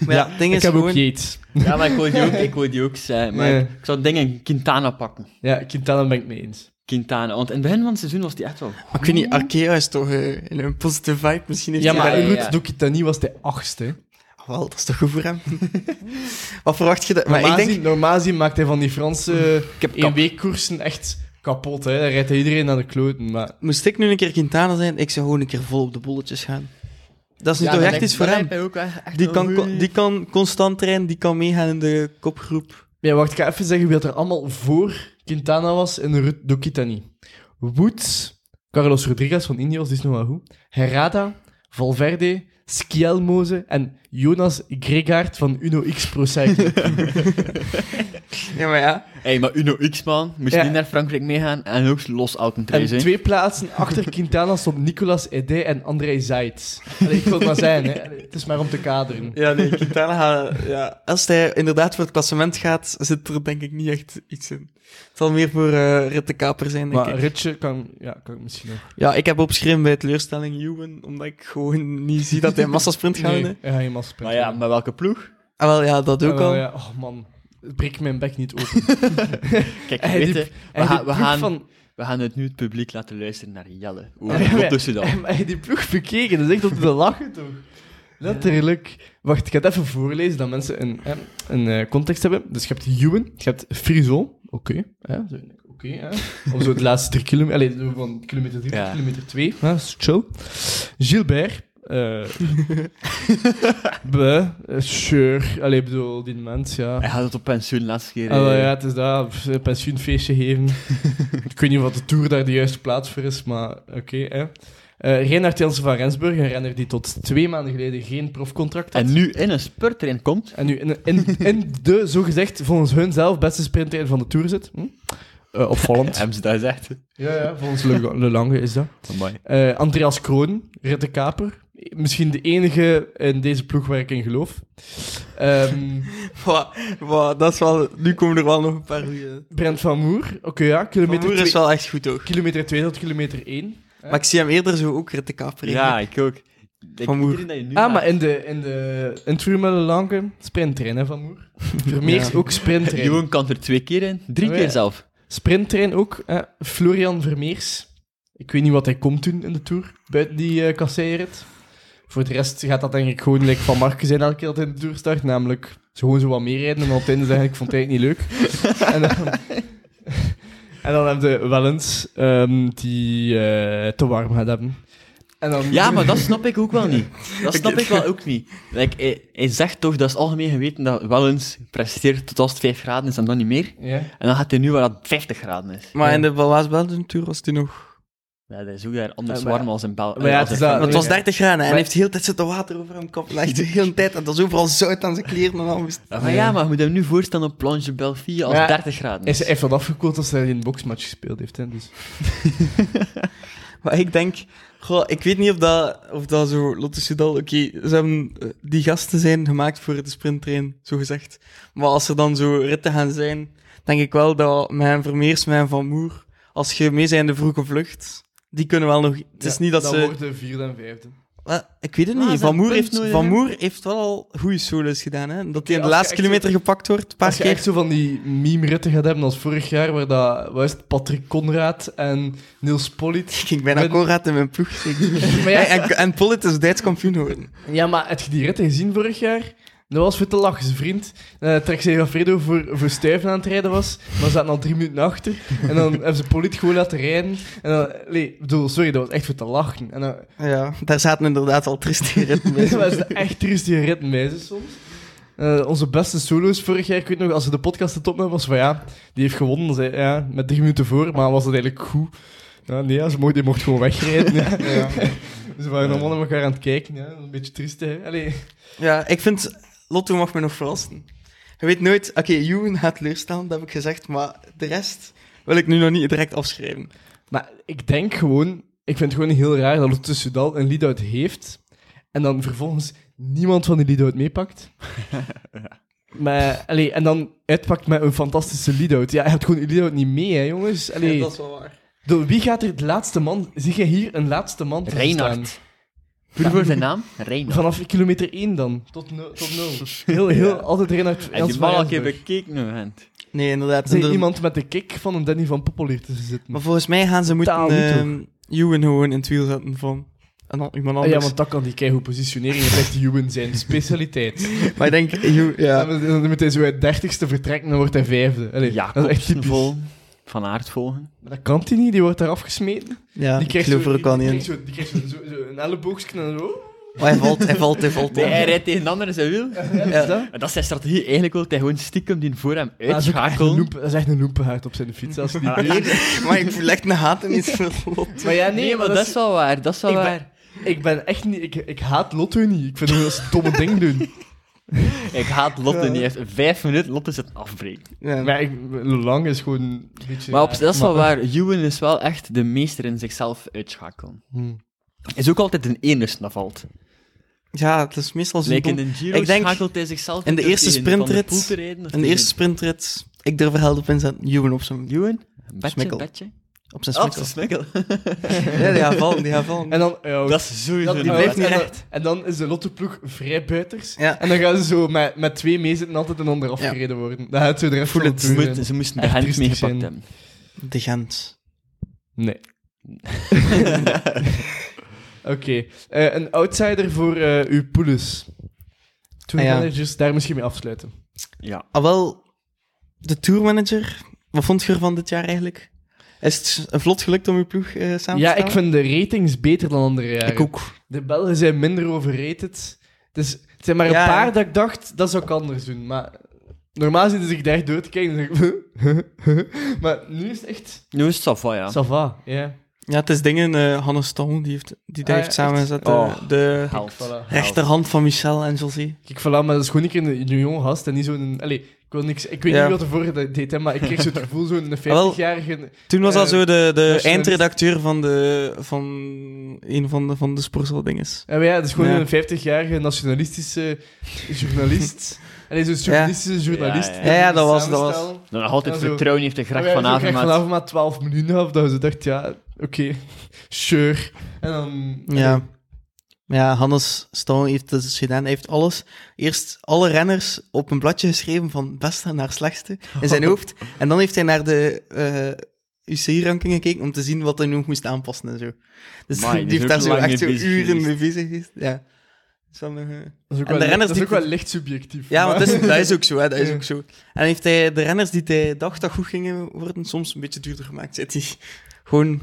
Maar ja, het ding ik is heb gewoon... ook Yates. Ja, maar ik wil die ook, ik wil die ook zijn. Maar Ja. ik, ik zou dingen Quintana pakken. Ja, Quintana ben ik mee eens. Quintana. Want in het begin van het seizoen was die echt wel... Maar ik weet niet, Arkea is toch eh, in een positieve vibe, misschien heeft Ja, hij maar daar- in ja, ja. Route do Quintana was hij achtste. hè. Ah, Wel, dat is toch goed voor hem? Wat verwacht je dat? Maar normaal, ik denk... zien- normaal zien maakt hij van die Franse Ik heb kap. één-week-koersen echt kapot. Hè. Daar rijdt hij iedereen naar de kloten. Maar Moest ik nu een keer Quintana zijn, ik zou gewoon een keer vol op de bolletjes gaan. Dat Oh, is nu Ja, toch dan echt denk- iets voor dan hem? lijkt hij ook echt- echt Die wel kan, goed. co- die kan constant trainen, die kan meegaan in de kopgroep. Ja, wacht, ik ga even zeggen wie dat er allemaal voor Quintana was in de Route do Quitani. Woods, Carlos Rodriguez van Ineos, die is nog wel goed. Herrada, Valverde, Schielmoze en Jonas Gregaard van Uno X Pro Cycling. Ja, maar ja. hey, maar Uno X-man moest Ja. niet naar Frankrijk meegaan en ook los en Alcantara zijn. twee plaatsen achter Quintana stond Nicolas Ede en André Zaid. Allee, ik wil het maar zijn, hè. Allee, het is maar om te kaderen. Ja, nee, Quintana gaat... Ja, als hij inderdaad voor het klassement gaat, zit er denk ik niet echt iets in. Het zal meer voor eh Rit de Kaper zijn, denk Maar ik. Ritje kan, ja, kan ik misschien nog. Ja, ik heb opgeschreven bij teleurstelling Ewan, omdat ik gewoon niet zie dat hij massasprint gaat Nee, winnen. hij gaat je massa Maar ja, maar welke ploeg? Ah, wel, ja, dat ook Ah, wel, al. ja. Oh man, het breekt mijn bek niet open. Kijk, Hij weet die- je, we, En die gaan, we, ploeg gaan, van- we gaan het nu het publiek laten luisteren naar Jelle. Ja, Hoe ja, maar- tussen dan? En maar je die ploeg bekeken, dat is echt om te lachen, toch? Letterlijk. Wacht, ik ga het even voorlezen, dat mensen een, hè, een eh, context hebben. Dus je hebt Ewan, je hebt Friso, oké, hè, zo- oké, hè. Of zo de laatste drie kilometer, allee, zo van kilometer drie Ja. tot kilometer twee, hè, dat is chill. Gilbert, eh Be, eh, Sure, allee, ik bedoel, die mens, ja. Hij gaat het op pensioen laatste keer. Ah, wel, eh, ja, het is dat. Pff, een Pensioenfeestje geven. ik weet niet wat de Tour daar de juiste plaats voor is, maar oké. hè. Eh Reinhard Jansen van Rensburg, een renner die tot twee maanden geleden geen profcontract had. En nu in een spurtrein komt. En nu in, in, in de, zogezegd, volgens hun zelf, beste sprinter van de Tour zit. Hm? Eh, opvallend. Hebben ze dat gezegd? ja, ja, volgens Le, Le Lange is dat. Amai. Eh, Andreas Kroon, Ritte Kaper. Misschien de enige in deze ploeg waar ik in geloof. Ehm Wa- wa, dat is wel... Nu komen er wel nog een paar goeie. Brent van Moer, oké ja, Van kilometer Moer is 2 wel echt goed, hoor. kilometer twee tot kilometer 1. Maar ik zie hem eerder zo ook Rit de Kaper. Ja, ik ook. Ik, Van Moer. iedereen dat je nu Ah, maar maakt- in de, in de in het Formule Lange sprinttrein, hè, Van Moer? Vermeers Ja. ook sprinttrein. Johan kan er twee keer in. Drie Oh, ja. keer zelf. Sprinttrein ook, hè. Florian Vermeers. Ik weet niet wat hij komt doen in de Tour, buiten die eh kasseirit. Voor de rest gaat dat denk ik gewoon like van Marken zijn elke keer dat hij in de Tour start, namelijk zo gewoon zo wat meer rijden en dan op het einde zeggen, ik vond het eigenlijk niet leuk. en dan... En dan heb je Wellens, ehm, die eh, te warm gaat hebben. En dan... Ja, maar dat snap ik ook wel niet. Dat snap ik wel ook niet. Like, hij, hij zegt toch, dat is algemeen geweten, dat Wellens presteert tot als het 5 graden is en dan niet meer. Ja. En dan gaat hij nu waar dat 50 graden is. Maar in de Balaas Belgium Tour was hij nog... Ja, dat is ook daar anders Ja, maar- warm als in België. maar ja, het is dat- Maar het was Ja. 30 graden en hij Maar- heeft de hele tijd zitten water over hem kop. Hij ligt de hele tijd en dat is overal zout aan zijn kleren en alles. Maar ja, maar je moet hem nu voorstellen op Planche Belfie als Maar ja, 30 graden. Hij Is. is- hij heeft dat afgekoeld als hij in een boxmatch gespeeld heeft. Hè, dus. Maar ik denk, goh, ik weet niet of dat, of dat zo Lotte Soudal, oké, ze hebben eh, die gasten zijn gemaakt voor de sprinttrain, zo gezegd. Maar als er dan zo ritten gaan zijn, denk ik wel dat mijn Vermeers, mijn Van Moer, als je mee zijn in de vroege vlucht, die kunnen wel nog. Het is Ja, niet dat dan ze. worden vierde en vijfde. Wel, ik weet het Ah, niet. is Van dat Moer, punt heeft, nodig, van hè? Moer heeft wel al goede solos gedaan. Hè? Dat hij in als de je laatste echt kilometer gepakt wordt, een paar Als je keer. echt zo van die meme-ritten gaat hebben als vorig jaar, waar dat, wat is het, Patrick Conrad en Niels Polliet. Ik ging bijna Ben- Conrad in mijn ploeg steken. Maar ja, En, en Pollet is Duits kampioen geworden. ja, maar heb je die ritten gezien vorig jaar? Dat was voor te lachen. Zijn vriend, eh Traxera Fredo, voor, voor stuiven aan het rijden was. Maar ze zaten al drie minuten achter. En dan hebben ze poliet gewoon laten rijden. En dan, nee, ik bedoel, sorry, dat was echt voor te lachen. En dan Ja, daar zaten inderdaad al trieste ritmen dat in. was een echt triestige ritme, meisjes soms. Eh, onze beste solo's vorig jaar, ik weet nog, als ze de podcast de top hebben, was van ja, die heeft gewonnen zei, ja, met drie minuten voor, maar was het eigenlijk goed? Ja, nee, ja, ze mocht, die mocht gewoon wegrijden. ja. Dus we waren allemaal naar elkaar aan het kijken. Ja. Een beetje triest, hè. Allee. Ja, ik vind... Lotto mag me nog verrassen. Je weet nooit... Oké, Juwen gaat teleurstellen, dat heb ik gezegd. Maar de rest wil ik nu nog niet direct afschrijven. Maar ik denk gewoon, ik vind het gewoon heel raar dat Lotte Soudal een lead-out heeft en dan vervolgens niemand van die lead-out meepakt. Maar, allee, en dan uitpakt met een fantastische lead-out. Ja, hij had gewoon een lead-out niet mee, hè, jongens. Allee. dat is wel waar. Door wie gaat er de laatste man? Zie je hier een laatste man te verstaan? Reinhard. Puur voor zijn naam? Reinhard. Vanaf kilometer 1 dan, tot 0. tot nul. Heel, heel, altijd Reinhard. Hij die Jans bal al een keer Marenburg. bekeken, hè, vent. Nee, inderdaad. Zie je Inder- iemand met de kick van een Danny van Poppel hier tussen zitten. Ah, Maar volgens mij gaan ze Totaal moeten niet, ehm Juwen gewoon in het wiel zetten van en dan iemand Ah, ja, anders. want dat kan die keigoed positionering en echt Ewan zijn specialiteit. Maar ik denk, Juwen- Ja. ja. Dan, dan moet hij zo uit dertigste vertrekken, dan wordt hij vijfde. Allee, dat is echt Jacobsen typisch. volgen. Van Aert volgen. Maar Dat kan hij niet, die wordt daar afgesmeten. ja die ik krijgt geloof zo- er ook al die niet in. krijgt zo- Die krijgt zo, zo, zo een elleboogje en zo. Oh, hij valt, hij valt, hij valt. Nee, ja. hij rijdt tegen een ander in zijn wiel. Ja, dat is dat. En dat is zijn strategie. Eigenlijk wil hij gewoon stiekem die voor hem Maar dat is ook echt een uitschakelen. loempe- Dat is echt een loempenhuid op zijn fiets. Als hij die Ah, Maar ik voel echt een haat in iets van Lot. Maar ja, Nee, maar dat is wel waar. Dat is wel Ik ben- waar. Ik ben echt niet... Ik, ik haat Lotto niet. Ik vind hem dat ze domme ding doen. Ik haat Lotte Ja. niet. Hij heeft vijf minuten. Lotte is het afbreken. Ja. Maar ik, Lang is gewoon een beetje... Maar op, dat is wel Maar- waar. Ewan is wel echt de meester in zichzelf uitschakelen. Hmm. Hm. Is ook altijd een eners dat valt. ja, het is meestal zo'n Like in dom- de Giro Ik denk, schakelt hij zichzelf in de uit eerste tegen Van der sprintrit- Poel te rijden, of Een tegen- eerste sprintrit. Ik durf er held op inzetten. Juwen op zijn, Ewan? Een Betje, Smikkel. betje. op zijn Oh, smikkel. ze smikkel. Ja, die gaat vallen, die gaat vallen. En dan... ja, Dat is sowieso Dat- die een- blijft niet en dan- recht. En dan is de lottoploeg vrij buiters. Ja. En dan gaan ze zo met, met twee meezitten altijd een ander afgereden worden. Dat gaat zo de rest Voel van het. de Ze, ploeg moeten- zijn. ze moesten de Echt hand triestig meegepakt zijn. hebben. De Gent. Nee. Oké. Eh, een outsider voor eh, uw poeles. Toen Ah, ja. managers daar misschien mee afsluiten. Ja. Al Ah, wel, de tourmanager. Wat vond je ervan dit jaar eigenlijk? Is het een vlot gelukt om uw ploeg eh, samen te stellen? Ja, ik vind de ratings beter dan andere jaren. Ik ook. De Belgen zijn minder overrated. Dus het zijn maar een Ja, paar ja. dat ik dacht, dat zou ik anders doen. Maar normaal zitten ze zich daar door te kijken en zeg ik... maar nu is het echt... Nu is het Sava, ja. Ça va, ja. Ja, het is dingen, eh Hannes Tong, die, heeft, die daar Ah, heeft ja, echt? samengezet. Oh. eh, de Held. Voilà. rechterhand van Michel en José. Ik voilà, maar dat is gewoon een keer een jong gast en niet zo'n... Allee, ik, wil niks, ik weet Ja. Ah, niet wat ervoor dat deed, hè, maar ik kreeg zo het gevoel, zo'n 50-jarige... Toen was dat Eh, zo de, de nationalist. eindredacteur van, de, van een van de, van de Sportzel-dinges. Ja, maar ja, het is gewoon Ja. een 50-jarige nationalistische journalist. Allee, zo'n journalistische journalist. Ja, ja, ja. Ja, ja, dat was- dat was- samenstellen. Nou, nog altijd Ja, zo. vertrouwen heeft de gracht van vanavond Avermaat. vanavond maar 12 minuten af, dat ze dacht, ja, oké, sure. En dan... Ja. Maar Ja, Hannes Stong heeft dat dus gedaan. Hij heeft alles, eerst alle renners op een bladje geschreven van beste naar slechtste in zijn hoofd. En dan heeft hij naar de eh, UC-ranking gekeken om te zien wat hij nog moest aanpassen en zo. Dus Amai, die die is heeft ook daar zo lang echt mee zo bezig uren geweest. mee bezig geweest. Ja. Dat is wel nog, eh, Dat is ook, En wel, de renners dat is ook die- wel licht subjectief. Ja, want dus- maar- dat is, dat is ook zo, hè, dat is Ja. ook zo. En heeft hij de renners die hij dacht dat goed gingen worden, soms een beetje duurder gemaakt. Zet hij gewoon...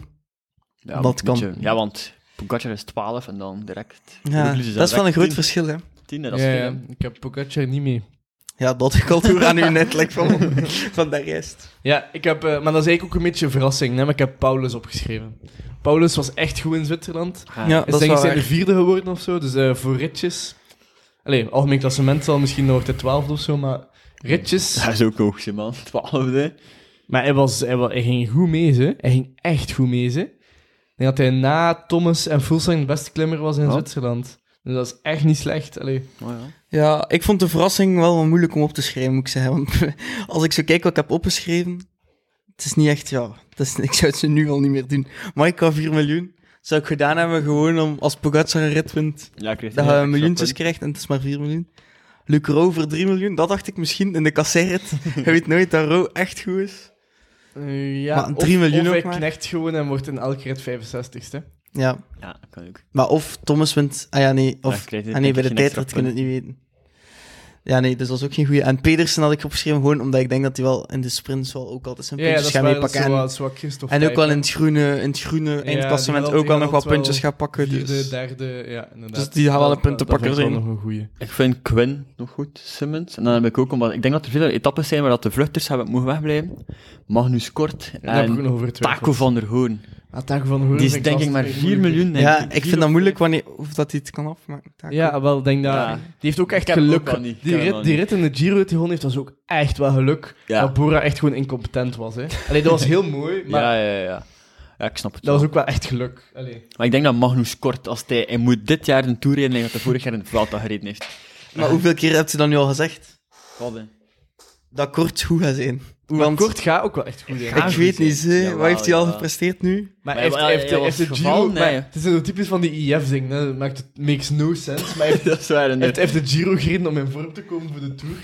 Ja, Dat een beetje. kan. Ja, want Pogacar is 12 en dan direct... Ja, Roglic is dat is wel een direct groot 10. verschil, hè. 10, dat Ja, is ja, veel, hè. ik heb Pogacar niet mee. Ja, dat ik al toe aan uw netelijk van, van de rest. Ja, ik heb, eh, maar dat is eigenlijk ook een beetje een verrassing, hè, maar ik heb Paulus opgeschreven. Paulus was echt goed in Zwitserland. Ja. Ja. Hij Dat is is denk ik wel zijn de waar. vierde geworden of zo, dus eh, voor ritjes. Allee, algemeen klassement zal misschien nog de twaalfde of zo, maar ritjes. Dat is ook hoog, ze, man. 12, hè. Maar hij, was, hij, wa- hij ging goed mee, ze. Hij ging echt goed mee, ze. Ik denk dat hij na Thomas en Fulsang de beste klimmer was in Ja. Zwitserland. Dus dat is echt niet slecht. Allee. Oh, ja. Ja, ik vond de verrassing wel moeilijk om op te schrijven, moet ik zeggen. Want als ik zo kijk wat ik heb opgeschreven, het is niet echt, ja... Het is, ik zou het ze nu al niet meer doen. Maar ik had 4 miljoen. Zou ik gedaan hebben gewoon om, als Pogacar een rit wint, Ja, ik kreeg Dat ja, je ik miljoentjes snap krijgt en het is maar 4 miljoen. Luc Ro voor 3 miljoen, dat dacht ik misschien in de kasseirrit. je weet nooit dat Ro echt goed is. Eh, ja, Maar of- drie miljoen of ook hij maar. knecht gewoon en wordt in elke rit 65ste. Ja, het. Ja, dat kan ook. maar of Thomas wint... Ah ja, nee. Ja, Of, ik krijg dit ah nee, bij denk de ik geen tijdrit extra kunnen we het niet weten. Ja, nee, dus dat is ook geen goede. En Pedersen had ik opgeschreven, gewoon omdat ik denk dat hij wel in de sprints wel ook altijd zijn Ja, ja, dat puntjes is gaat waar, dat is meepakken. zo En, wat- zo wat Christophe en ook wel in Dijkman. het groene, in het groene Ja, eindklassement die had- ook wel die nog wat had wel puntjes gaat pakken. Vierde, Dus. derde, ja, inderdaad. Dus die gaan wel Dat- een puntenpakker dat vind ik wel zijn. nog een goeie. Ik vind Quinn nog goed, Simmons. En dan heb ik ook, omdat ik denk dat er veel etappes zijn waar dat de vluchters hebben mogen wegblijven. Magnus Kort Daar heb ik ook en nog over getwijfeld. Taco van der Hoorn. Ah, Taco van Hoorn Die is vind ik denk ik lastig, maar vind 4 moeilijk. miljoen. denk Ja, ik. ik vind dat moeilijk wanneer, of dat hij het kan afmaken. Taco. Ja, wel, ik denk dat... Ja. Die heeft ook Ik echt heb hem geluk. ook al niet. Ik die, heb hem rit, al die niet. rit in de Giro die gewonnen heeft, was ook echt wel geluk. Ja. Dat Bora echt gewoon incompetent was. Hè. Allee, dat was heel mooi, maar ja, ja, ja. Ja, ik snap het dat wel. was ook wel echt geluk. Allee. Maar ik denk dat Magnus Kort, als hij, hij moet dit jaar een toer rijden, dat hij vorig jaar in de Vuelta gereden heeft. Maar hoeveel keer hebt u dan nu al gezegd? Wat, hè? Dat kort goed gaat zijn. Maar Want Kort gaat ook wel echt goed. hè. Ga- ik weet niet, hè. Jawel, wat heeft hij al jawel. gepresteerd nu? Maar Maar hij heeft, ja, hij heeft, hij hij was heeft de Giro... gevallen, maar nee. het is zo typisch van die IF-ding. Dat maakt het makes no sense. Maar hij heeft, dat is waar, hij heeft, inderdaad. hij heeft de Giro gereden om in vorm te komen voor de Tour.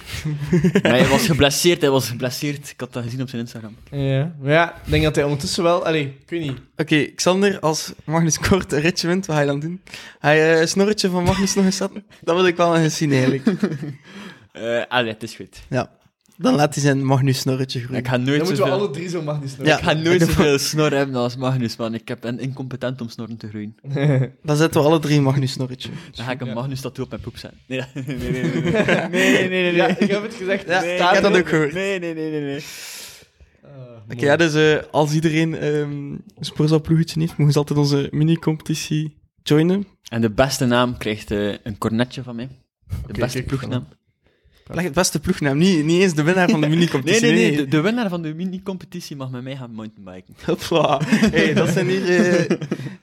Maar hij was geblesseerd, hij was geblesseerd. Ik had dat gezien op zijn Instagram. Ja, maar ja, ik denk dat hij ondertussen wel... Allee, ik weet niet. Oké, Xander, als Magnus Kort een ritje wint, wat ga je dan doen? Ga je een snorretje van Magnus nog eens zetten? Dat wil ik wel nog eens zien, eigenlijk. Eh allee, het is goed. Ja. Dan laat hij zijn Magnus snorretje groeien. Ik ga nooit Dan moeten we zoveel- alle drie zo Magnus noemen. Ja. Ik ga nooit zoveel snor hebben als Magnus, man. Ik heb een incompetent om snorren te groeien. Dan zetten we alle drie een Magnus snorretje. Dan ga ik een Ja. Magnus tattoo op mijn poep zetten. Nee, nee, nee, nee. nee. nee, nee, nee, nee. Ja, ik heb het gezegd. Ja, Nee, ik heb dat nee. ook gehoord. Nee, nee, nee, nee, nee. Ah, Oké, mooi. ja, dus eh, als iedereen ehm een Sporza-ploegetje heeft, mogen ze altijd onze mini-competitie joinen. En de beste naam krijgt eh, een cornetje van mij. De beste kijk, ploegnaam. Leg het beste ploegnaam, niet, niet eens de winnaar van de Nee, mini-competitie. nee, nee. De, de winnaar van de mini-competitie mag met mij gaan mountainbiken. Hopla. Hey, dat zijn hier eh,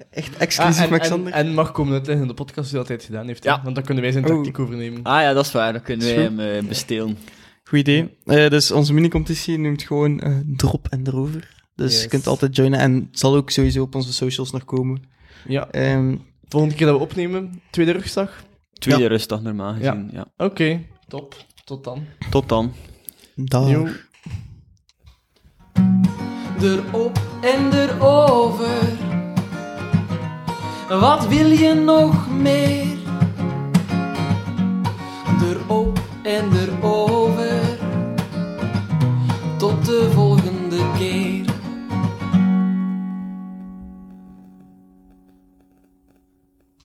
echt Ah, exclusief en, met en, Xander. en mag komen uitleggen in de podcast die dat hij het gedaan heeft. hè. Ja. Want dan kunnen wij zijn Oh. tactiek overnemen. Ah ja, dat is waar. Dan kunnen Is wij hem goed. eh, bestelen. Goed idee. Eh, dus onze mini-competitie noemt gewoon eh, drop en erover. Dus Yes. je kunt altijd joinen en het zal ook sowieso op onze socials nog komen. Ja. Ehm, Volgende keer dat we opnemen, tweede rugzak. Tweede Ja. rustdag normaal gezien. Ja. Oké, top. Tot dan. Tot dan. dag. Yo. erop en erover. Wat wil je nog meer? Erop en erover.